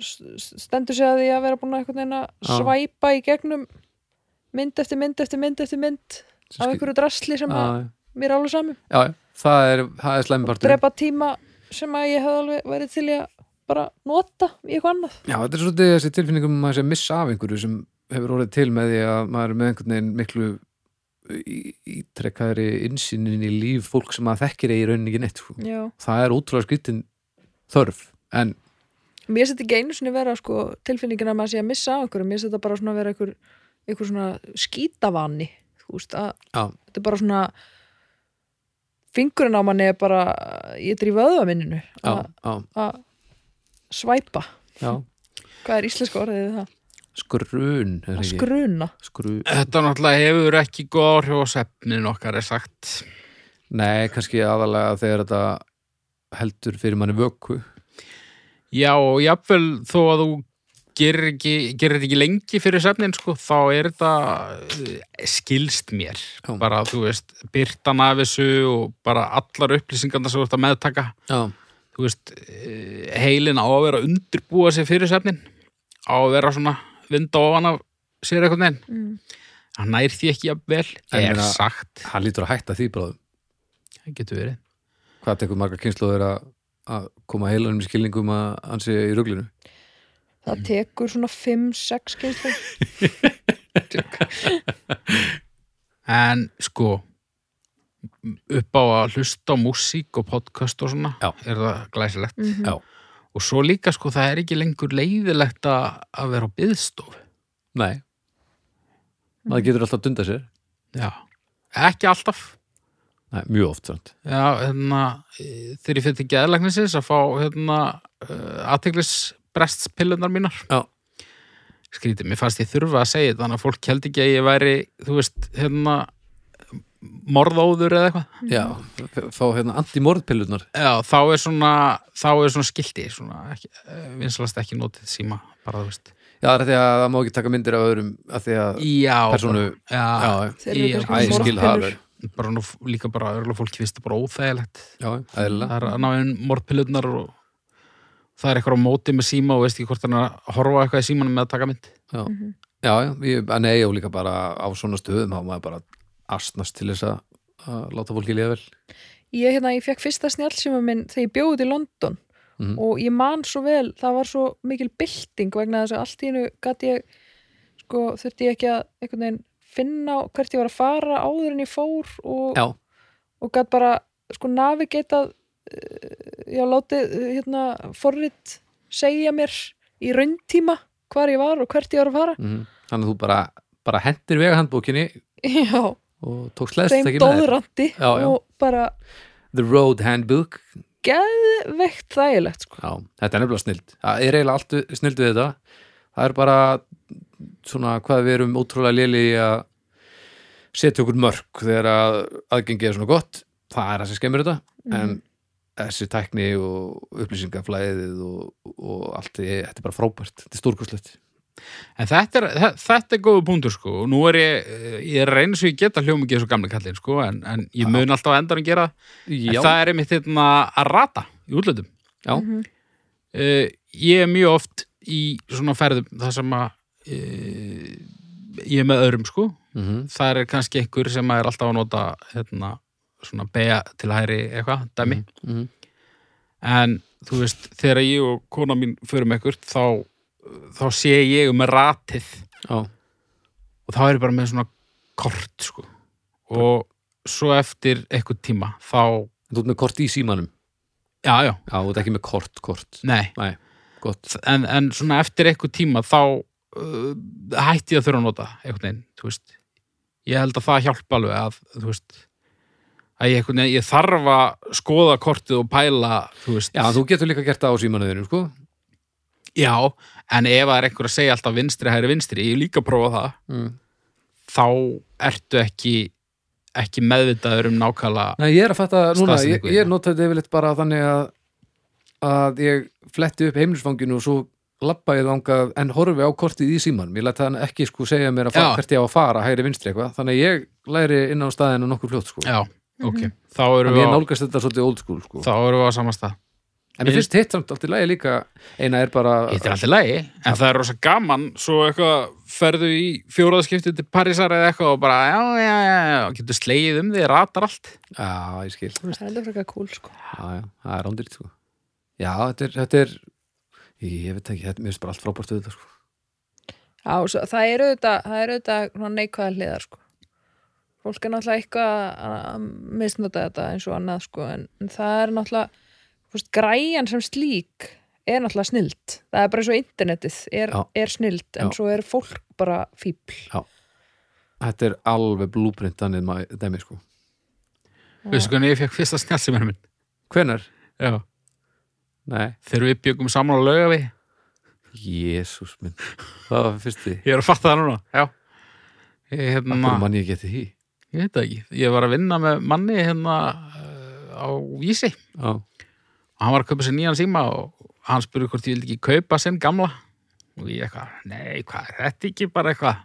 Speaker 3: s- s- stendur sig að því að vera búin að einhvern veginn að
Speaker 2: Já.
Speaker 3: svæpa í gegnum mynd eftir mynd eftir mynd eftir mynd af einhverju drasli sem að
Speaker 2: Já,
Speaker 3: mér er alveg saman
Speaker 2: já, já, það er, það er slæmipartur
Speaker 3: drepa tíma sem að ég hef alveg verið til í að bara nota í eitthvað annað
Speaker 2: Já, þetta er svolítið þessi tilfinningum maður sé að missa af einhverju sem hefur orðið til með því að maður er með einhvern veginn miklu í- ítrekkaðri innsýnin í líf fólk sem maður þekkir í rauninni ekki neitt sko.
Speaker 3: Já.
Speaker 2: Það er ótrúlega skrittin þörf en
Speaker 3: Mér seti ekki einu sinni vera sko, tilfinningin að maður sé að missa á einhverju, mér seti bara svona vera einhver, einhver svona skítavani þú veist að
Speaker 2: Já.
Speaker 3: þetta er bara svona fingurinn á manni er bara ég er í vöðvaminninu
Speaker 2: já,
Speaker 3: að
Speaker 2: já,
Speaker 3: að svæpa
Speaker 2: já,
Speaker 3: hvað er íslenska orðið við það?
Speaker 2: skrun er
Speaker 3: Að
Speaker 2: ekki?
Speaker 3: skruna
Speaker 2: Skru...
Speaker 1: Þetta náttúrulega hefur ekki góð áhrif á svefnin okkar er sagt.
Speaker 2: Nei, kannski aðalega þegar þetta heldur fyrir manni vöku
Speaker 1: Já, og jafnvel þó að þú gerir, ekki, gerir þetta ekki lengi fyrir svefnin, sko, þá er þetta eh, skilst mér.
Speaker 2: Já.
Speaker 1: Bara, þú veist, byrtan af þessu og bara allar upplýsingarna sem þú ert að meðtaka.
Speaker 2: Já,
Speaker 1: Þú veist, eh, heilin á að vera að undirbúa sig fyrir svefnin, á að vera svona vinda ofan af sér eitthvað neginn.
Speaker 3: mm.
Speaker 1: Hann nær því ekki jafnvel,
Speaker 2: En ég
Speaker 1: er
Speaker 2: meina-
Speaker 1: sagt.
Speaker 2: hann lítur að hætta því bráðum
Speaker 1: Það getur verið.
Speaker 2: hvað tekur marga kynsluður að að koma heilanum í skilningum að hann sé í ruglinu
Speaker 3: það tekur svona 5-6 kynslu
Speaker 1: En sko upp á að hlusta á músík og podcast og svona
Speaker 2: Já.
Speaker 1: er það glæsilegt
Speaker 3: mm
Speaker 2: Já.
Speaker 1: og svo líka sko það er ekki lengur leiðilegt að að vera á byðstofu
Speaker 2: Nei maður getur alltaf að dunda sér
Speaker 1: Já, ekki alltaf
Speaker 2: Nei, mjög oft sant.
Speaker 1: Já, hérna, e, þegar ég fyrir til geðlæknisins að fá hérna, aðteglis brestspillunar mínar.
Speaker 2: Já.
Speaker 1: Skrítið, mér fannst ég þurfa að segja þetta, þannig að fólk held ekki að ég væri, þú veist, hérna, morðóður eða eitthvað.
Speaker 2: Já, f- fá hérna antimorðpillunar
Speaker 1: Já, þá er svona, þá er svona skilti, svona, ekki, eh, vinsalast ekki notið síma, bara þú veist.
Speaker 2: Já, það er af því að það má ekki taka myndir af öðrum af því að
Speaker 1: Já,
Speaker 2: persónu
Speaker 1: bara,
Speaker 2: Já,
Speaker 3: Þeir eru
Speaker 1: já,
Speaker 3: kannski
Speaker 2: æ, ég skil það alveg.
Speaker 1: já, bara nú, f- líka bara örgulega fólk finnst það bara óþægilegt.
Speaker 2: Já, eðlilega
Speaker 1: það er að ná einn morpilutnar og það er eitthvað á móti með síma og veist ekki hvort hann er að horfa á eitthvað í símanum með að taka mynd
Speaker 2: Já, já, já ég, en nei, ég líka bara á svona stöðum þá maður bara astnast til þess að, að láta fólki liða vel
Speaker 3: ég, hérna, ég fekk fyrsta snjálsíma minn þegar ég bjóði til London
Speaker 2: Mhm.
Speaker 3: og ég man svo vel, það var svo mikil bylting vegna þess að allt í hennu gat ég, sko, þurfti ég ekki að einhvern veginn finna á hvert ég var að fara áður en ég fór og,
Speaker 2: Já,
Speaker 3: og gat bara, sko, navigatað eh, já, látið eh, hérna, forrit segja mér í rauntíma hvar ég var og hvert ég var að fara
Speaker 2: mm þannig að þú bara, bara hendir vega handbókinni
Speaker 3: já,
Speaker 2: og tók sleðst
Speaker 3: þeim
Speaker 2: ekki með þér.
Speaker 3: dóðrandi
Speaker 2: Já, já.
Speaker 3: og bara
Speaker 2: The Road Handbook
Speaker 3: veikt þægilegt, sko
Speaker 2: Já, þetta er nefnilega snild Það er eiginlega allt snild við þetta Það er bara svona hvað við erum ótrúlega léli í að setja okkur mörk þegar að aðgengi er svona gott það er það sem skemmur þetta en þessi tækni og upplýsingaflæðið og, og allt því, þetta er bara frábært, þetta er stórkurslegt
Speaker 1: en þetta er, þe- þetta er góðu punktur sko og nú er ég, eh, ég reynir svo ég get að hljóma ekki þessu gamli kallinn sko en, en ég mun alltaf á endanum gera það. en
Speaker 2: Já,
Speaker 1: það er einmitt hérna að rata í útlöndum
Speaker 2: já,
Speaker 1: uh, ég er mjög oft í svona ferðum það sem að uh, ég er með öðrum sko
Speaker 2: mhm,
Speaker 1: það er kannski einhver sem er alltaf að nota hérna svona beja til hæri eitthvað, dæmi
Speaker 2: mhm,
Speaker 1: en þú veist, þegar ég og kona mín förum ekkert, þá, þá sé ég um ratið
Speaker 2: já
Speaker 1: og þá er ég bara með svona kort, sko og svo eftir eitthvað tíma þá,
Speaker 2: Þú ert með kort í símanum
Speaker 1: já, já,
Speaker 2: Já, þú ert ekki með kort, kort
Speaker 1: nei
Speaker 2: Nei, gott
Speaker 1: en, en svona eftir eitthvað tíma þá uh, hætti ég að þurfa að nota einhvern veginn, þú veist ég held að það hjálpa alveg að, þú veist að ég, einhvern veginn, ég þarf að skoða kortið og pæla, þú veist
Speaker 2: Já, þú getur líka gert það á símanuðinu, sko
Speaker 1: Já, en ef það er einhver að segja alltaf vinstri, hægri, vinstri, ég hef líka að prófa það
Speaker 2: mm.
Speaker 1: þá ertu ekki ekki meðvitaður um nákvæmlega
Speaker 2: Nei, ég er að fatta núna, ég,
Speaker 1: Staðsetningu,
Speaker 2: ég
Speaker 1: já.
Speaker 2: notaði þetta yfirleitt bara þannig að að ég fletti upp heimlisfanginu og svo labba ég þangað en horfi á kortið í símanum, ég leta hann ekki sko segja mér að fara,
Speaker 1: Já.
Speaker 2: hvert ég á að fara, hægri vinstri eitthvað þannig að ég læri inn á staðinu nokkur fljótt sko
Speaker 1: Já, ok, þá erum
Speaker 2: þannig
Speaker 1: við
Speaker 2: ég
Speaker 1: á,
Speaker 2: nálgast þetta svolítið old school sko
Speaker 1: þá erum við á samasta
Speaker 2: en mér finnst hitt samt allt í lagi líka eina er bara
Speaker 1: Þetta er alltaf lægi, en það er rosa gaman svo eitthvað ferðu í fjóraðskipti til Parísar eða eitthvað og bara já, já, já, já, og getur slegið um því ratar allt
Speaker 2: Já, ég skil Já,
Speaker 3: Það er alveg frekar cool, sko
Speaker 2: já, það er ándir sko Já, þetta er, þetta er ég veit ekki, þetta mér finnst bara allt frábært við þetta sko
Speaker 3: Já, og svo, það er auðvitað, það er auðvitað svona neikvæða hliðar sko. Fólk er náttúrulega eitthvað að- að misnota þetta eins og annað sko, en, en það er náttúrulega fúst, græjan sem slík er náttúrulega snild. Það er bara eins og internetið er,
Speaker 2: Já.
Speaker 3: er snild en
Speaker 2: Já.
Speaker 3: svo er fólk bara fíbl.
Speaker 2: Þetta er alveg blúprintanið maður dæmi sko
Speaker 1: Veistu hvernig ég fekk fyrsta snjálsimur minn?
Speaker 2: Hvenær?
Speaker 1: Já,
Speaker 2: Nei,
Speaker 1: þegar við byggum saman á lauga við
Speaker 2: Jésús minn Það var fyrsti
Speaker 1: Ég er að fatta það núna, já Ég, hérna,
Speaker 2: Akkur mann ég geti því
Speaker 1: ég veit það ekki, ég var að vinna með manni hérna eh, á vísi
Speaker 2: Já,
Speaker 1: og hann var að kaupa sér nýjan síma og hann spurði hvort ég vildi ekki kaupa sinn gamla og ég eitthvað, nei, hvað er þetta ekki bara eitthvað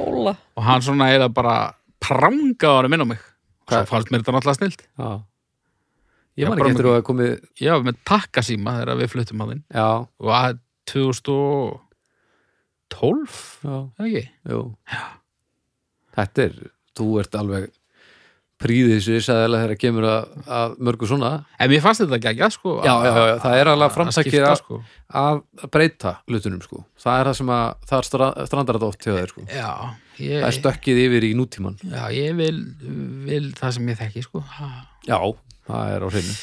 Speaker 3: Bóla.
Speaker 1: og hann svona eða bara prangaði honum inn á mig og svo
Speaker 2: Hvað?
Speaker 1: fannst mér þetta náttúrulega snilt
Speaker 2: já
Speaker 1: Já,
Speaker 2: Ég man
Speaker 1: bara
Speaker 2: ekki eftir
Speaker 1: með-
Speaker 2: að hafa komið
Speaker 1: ég var með takkasíma þegar við fluttum að þinn
Speaker 2: Já,
Speaker 1: og að 2012
Speaker 2: já,
Speaker 1: eða ekki,
Speaker 2: jú Þetta er, þú ert alveg príðið sér sæðilega þegar kemur að, að mörgu svona
Speaker 1: en mér fannst þetta ekki ekki sko,
Speaker 2: Já, já, já, já, það er alveg framsækið
Speaker 1: skipta,
Speaker 2: að,
Speaker 1: sko.
Speaker 2: að breyta hlutunum sko Það er það sem að, það er stra- strandar þetta oft hjá þeir sko
Speaker 1: já,
Speaker 2: Það
Speaker 3: Eh.
Speaker 2: er
Speaker 1: ég,
Speaker 2: stökkið yfir í nútíman
Speaker 1: já, ég vil, vil það sem ég þekki sko. Ha.
Speaker 2: Já, það er á hreinu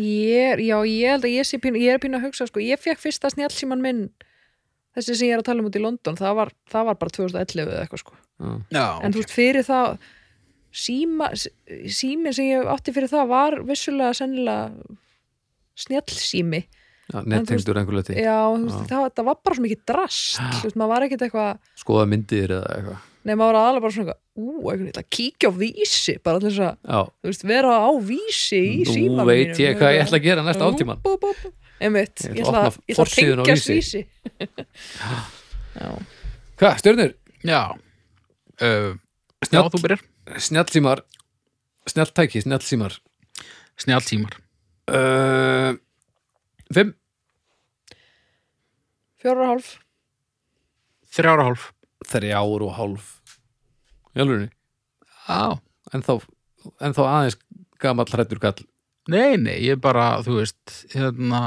Speaker 3: Ég, er- já, ég held að ég sé pínu, ég er pínu að hugsa sko, ég fekk fyrsta snjálsíman minn þessi sem ég er að tala um út í London, það var, það var bara 2011 eða eitthvað sko.
Speaker 2: Já,
Speaker 1: já,
Speaker 3: en þú veist fyrir þá síma, s- síminn sem ég átti fyrir það var vissulega sennilega snjallsími
Speaker 2: Já,
Speaker 3: En þú veist-
Speaker 2: nettengdur einhverlega til,
Speaker 3: já, þú veist,
Speaker 2: Já.
Speaker 3: það, það var bara svo mikið drast
Speaker 2: Já.
Speaker 3: þú veist, maður var ekkert eitthvað
Speaker 2: skoða myndir eða eitthvað.
Speaker 3: nei, maður var aðalega bara svona eitthvað ú, eitthvað, ég ætla að kíkja á vísi bara til þess að,
Speaker 2: Já,
Speaker 3: þú veist, vera á vísi í símanum
Speaker 2: nú veit ég
Speaker 3: mínum.
Speaker 2: hvað ég ætla að gera næsta áttíman.
Speaker 3: Bú, bú, bú.
Speaker 2: Ég
Speaker 3: Einmitt,
Speaker 2: ætla
Speaker 3: ég ætla,
Speaker 2: að
Speaker 3: að-
Speaker 2: opna
Speaker 3: ég ætla að
Speaker 2: forsíðuna á
Speaker 3: tengjast
Speaker 2: Vísi.
Speaker 3: vísi Já.
Speaker 2: Hvað, stjörnur?
Speaker 1: Já. Uh, já,
Speaker 2: Snjall,
Speaker 1: þú byrjar.
Speaker 2: snjallsímar, snjalltæki, snjallsímar.
Speaker 1: Snjalltímar.
Speaker 2: Uh, fimm,
Speaker 3: fjóra og hálf
Speaker 1: Þrjára hálf.
Speaker 2: þrjár og hálf. Jálfurinni,
Speaker 1: Já.
Speaker 2: en þá, en þá aðeins gamall hrættur kall.
Speaker 1: Nei, nei, ég bara, þú veist, hérna,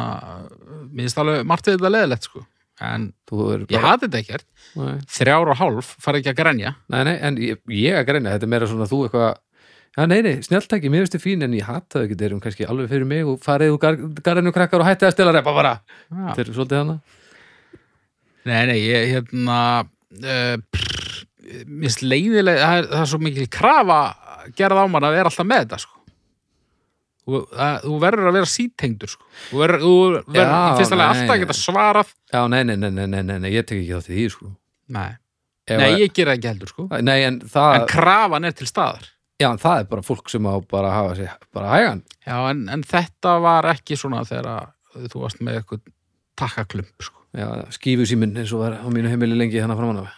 Speaker 1: mér finnst alveg margt við þetta leðilegt, sko. En
Speaker 2: Þú er
Speaker 1: ég
Speaker 2: bara...
Speaker 1: hati þetta ekkert.
Speaker 2: Nei.
Speaker 1: Þrjára og hálf farið ekki að grenja.
Speaker 2: Nei, nei, en ég, ég að greina, þetta er meira svona þú eitthvað Já, nei, nei, snjalltæki, mér finnst þið fín en ég hata þau ekki þeir eru kannski alveg fyrir mig og farið úr gar, garðinu krakkar og hættið að stela repa bara
Speaker 1: Já.
Speaker 2: Þeir eru svolítið hana
Speaker 1: Nei, nei, ég, hérna, uh, prr, mér finnst leiðilega, það er, það er svo mikil krafa gerð á mann að vera alltaf með þetta, sko. Þú, að, þú verður að vera sítengdur, sko. Þú verður, þú verður,
Speaker 2: Já,
Speaker 1: fyrst alveg
Speaker 2: nei,
Speaker 1: alltaf að
Speaker 2: nei.
Speaker 1: geta svarað.
Speaker 2: Já, nei, nei, nei, nei, nei, nei, nei ég tek ekki þátt í því, sko
Speaker 1: Nei,
Speaker 2: Ef
Speaker 1: nei
Speaker 2: að-
Speaker 1: ég gera ekki heldur, sko.
Speaker 2: nei, en það,
Speaker 1: En krafan er til staðar.
Speaker 2: já, en það er bara fólk sem á bara að hafa sig, bara hægan
Speaker 1: Já, en, en þetta var ekki svona þegar að þú varst með eitthvað takkaklump, sko.
Speaker 2: Já, skífu síminn eins og var á mínu heimili lengi þannig framan af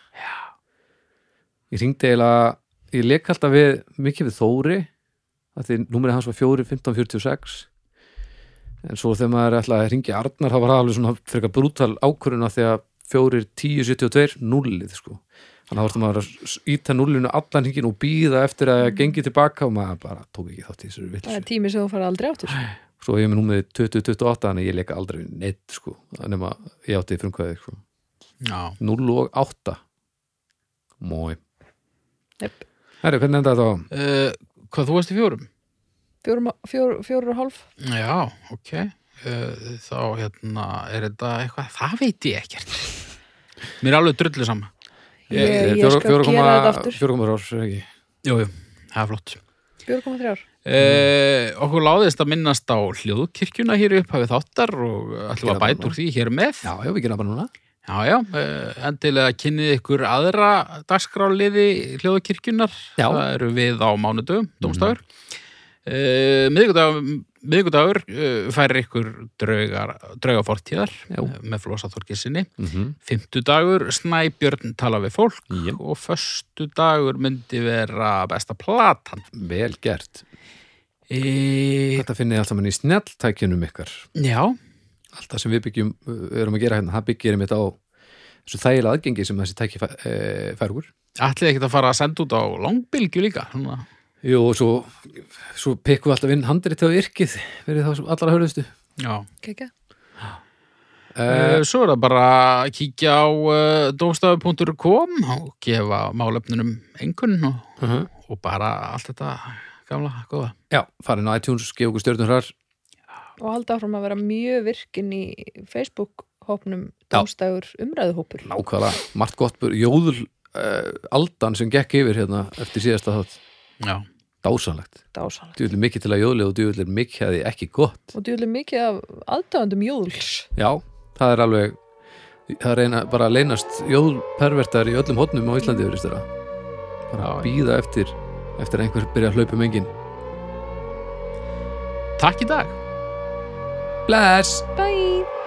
Speaker 2: Ég ringdi eiginlega, ég leik alltaf við mikið við Þóri af því númerið hans var 4, 15, 46 en svo þegar maður ætlaði að ringja Arnar þá var það alveg svona frekar brútal ákvörun af því að 4, 10, 72 nullið sko þannig að vartum maður að s- íta nullinu allan hringin og býða eftir að það gengi tilbaka og maður bara tók ekki þátt í þessu
Speaker 3: það er
Speaker 2: vill
Speaker 3: tími sem þú farið aldrei áttur
Speaker 2: svo ég er með númerið 2028 þannig að ég leika aldrei við neitt sko nema ég átti frumkvæði sko.
Speaker 1: Já.
Speaker 2: 0 og 8 Mói
Speaker 3: Jep.
Speaker 2: Herri, hvernig enda þetta á?
Speaker 1: Uh, hvað þú varst í fjórum?
Speaker 3: fjórum, fjór, fjórum og hálf
Speaker 1: Já, ok. Uh, þá, hérna, er þetta eitthvað, það veit ég ekkert. Mér er alveg drullu sama.
Speaker 3: Ég- ég skal gera þetta aftur.
Speaker 2: 4,3 árs er ekki
Speaker 1: Jú, jú, það er flott.
Speaker 3: 4,3 ár
Speaker 1: Uh, okkur láðist að minnast á hljóðkirkjuna hér í upphafi þáttar og ætlum
Speaker 2: Gera
Speaker 1: að
Speaker 2: það
Speaker 1: bæta úr því hér með.
Speaker 2: Já, já, við gerum bara núna
Speaker 1: Já, já, eh, endilega kynnið ykkur aðra dagskráliði hljóðkirkjunar.
Speaker 2: Já. Mhm.
Speaker 1: Það eru við á mánudögum, dómstafur. Mm. Miðgudagur, miðgudagur eh, færir ykkur draugar, draugafortíðar
Speaker 2: Já.
Speaker 1: eh, með Flosa Þorkissinni.
Speaker 2: mm -hmm.
Speaker 1: Fymtudagur, Snæbjörn tala við fólk
Speaker 2: Jep.
Speaker 1: og föstudagur myndi vera besta platan.
Speaker 2: Vel gert
Speaker 1: E,
Speaker 2: Þetta finnið allt saman í snjalltækjunum ykkar
Speaker 1: já,
Speaker 2: Allt það sem við byggjum, uh, erum að gera hérna Það byggjum einmitt á þessu þægilega aðgengi sem þessi tæki fæ- eh, fær úr
Speaker 1: ætlið ekki að fara að senda út á langbylgju líka. Svona.
Speaker 2: Jú, og svo, svo pikkum við alltaf inn handrið til yrkið verið þá sem allra hörðustu
Speaker 1: Já.
Speaker 3: Kekja.
Speaker 1: Uh, svo er það bara að kíkja á uh, dóstafu.com og gefa málefnunum engun og,
Speaker 2: uh -huh.
Speaker 1: og bara allt þetta gamla, góða.
Speaker 2: Já, farin á iTunes, gefa okkur stjörnum hrar
Speaker 3: og halda áfram að vera mjög virkin í Facebook-hópnum
Speaker 2: Já.
Speaker 3: Dómstægur umræðuhópur
Speaker 2: Nákvæmlega, margt gott bur, jóðul uh, aldan sem gekk yfir hérna eftir síðasta þátt,
Speaker 1: Já.
Speaker 2: dásanlegt
Speaker 3: dásanlega
Speaker 2: djúvillir mikið til að jóðli og djúvillir mikið að því ekki gott
Speaker 3: og djúlega mikið af aðdáðandum júls
Speaker 2: Já, það er alveg það er eina, bara að leynast jóðulpervertar í öllum hotnum á Íslandi verið störa bara
Speaker 1: Já,
Speaker 2: að
Speaker 1: já.
Speaker 2: býða eftir eftir að einhver byrja að hlaupa um engin
Speaker 1: Takk í dag.
Speaker 2: Bless!
Speaker 3: Bye!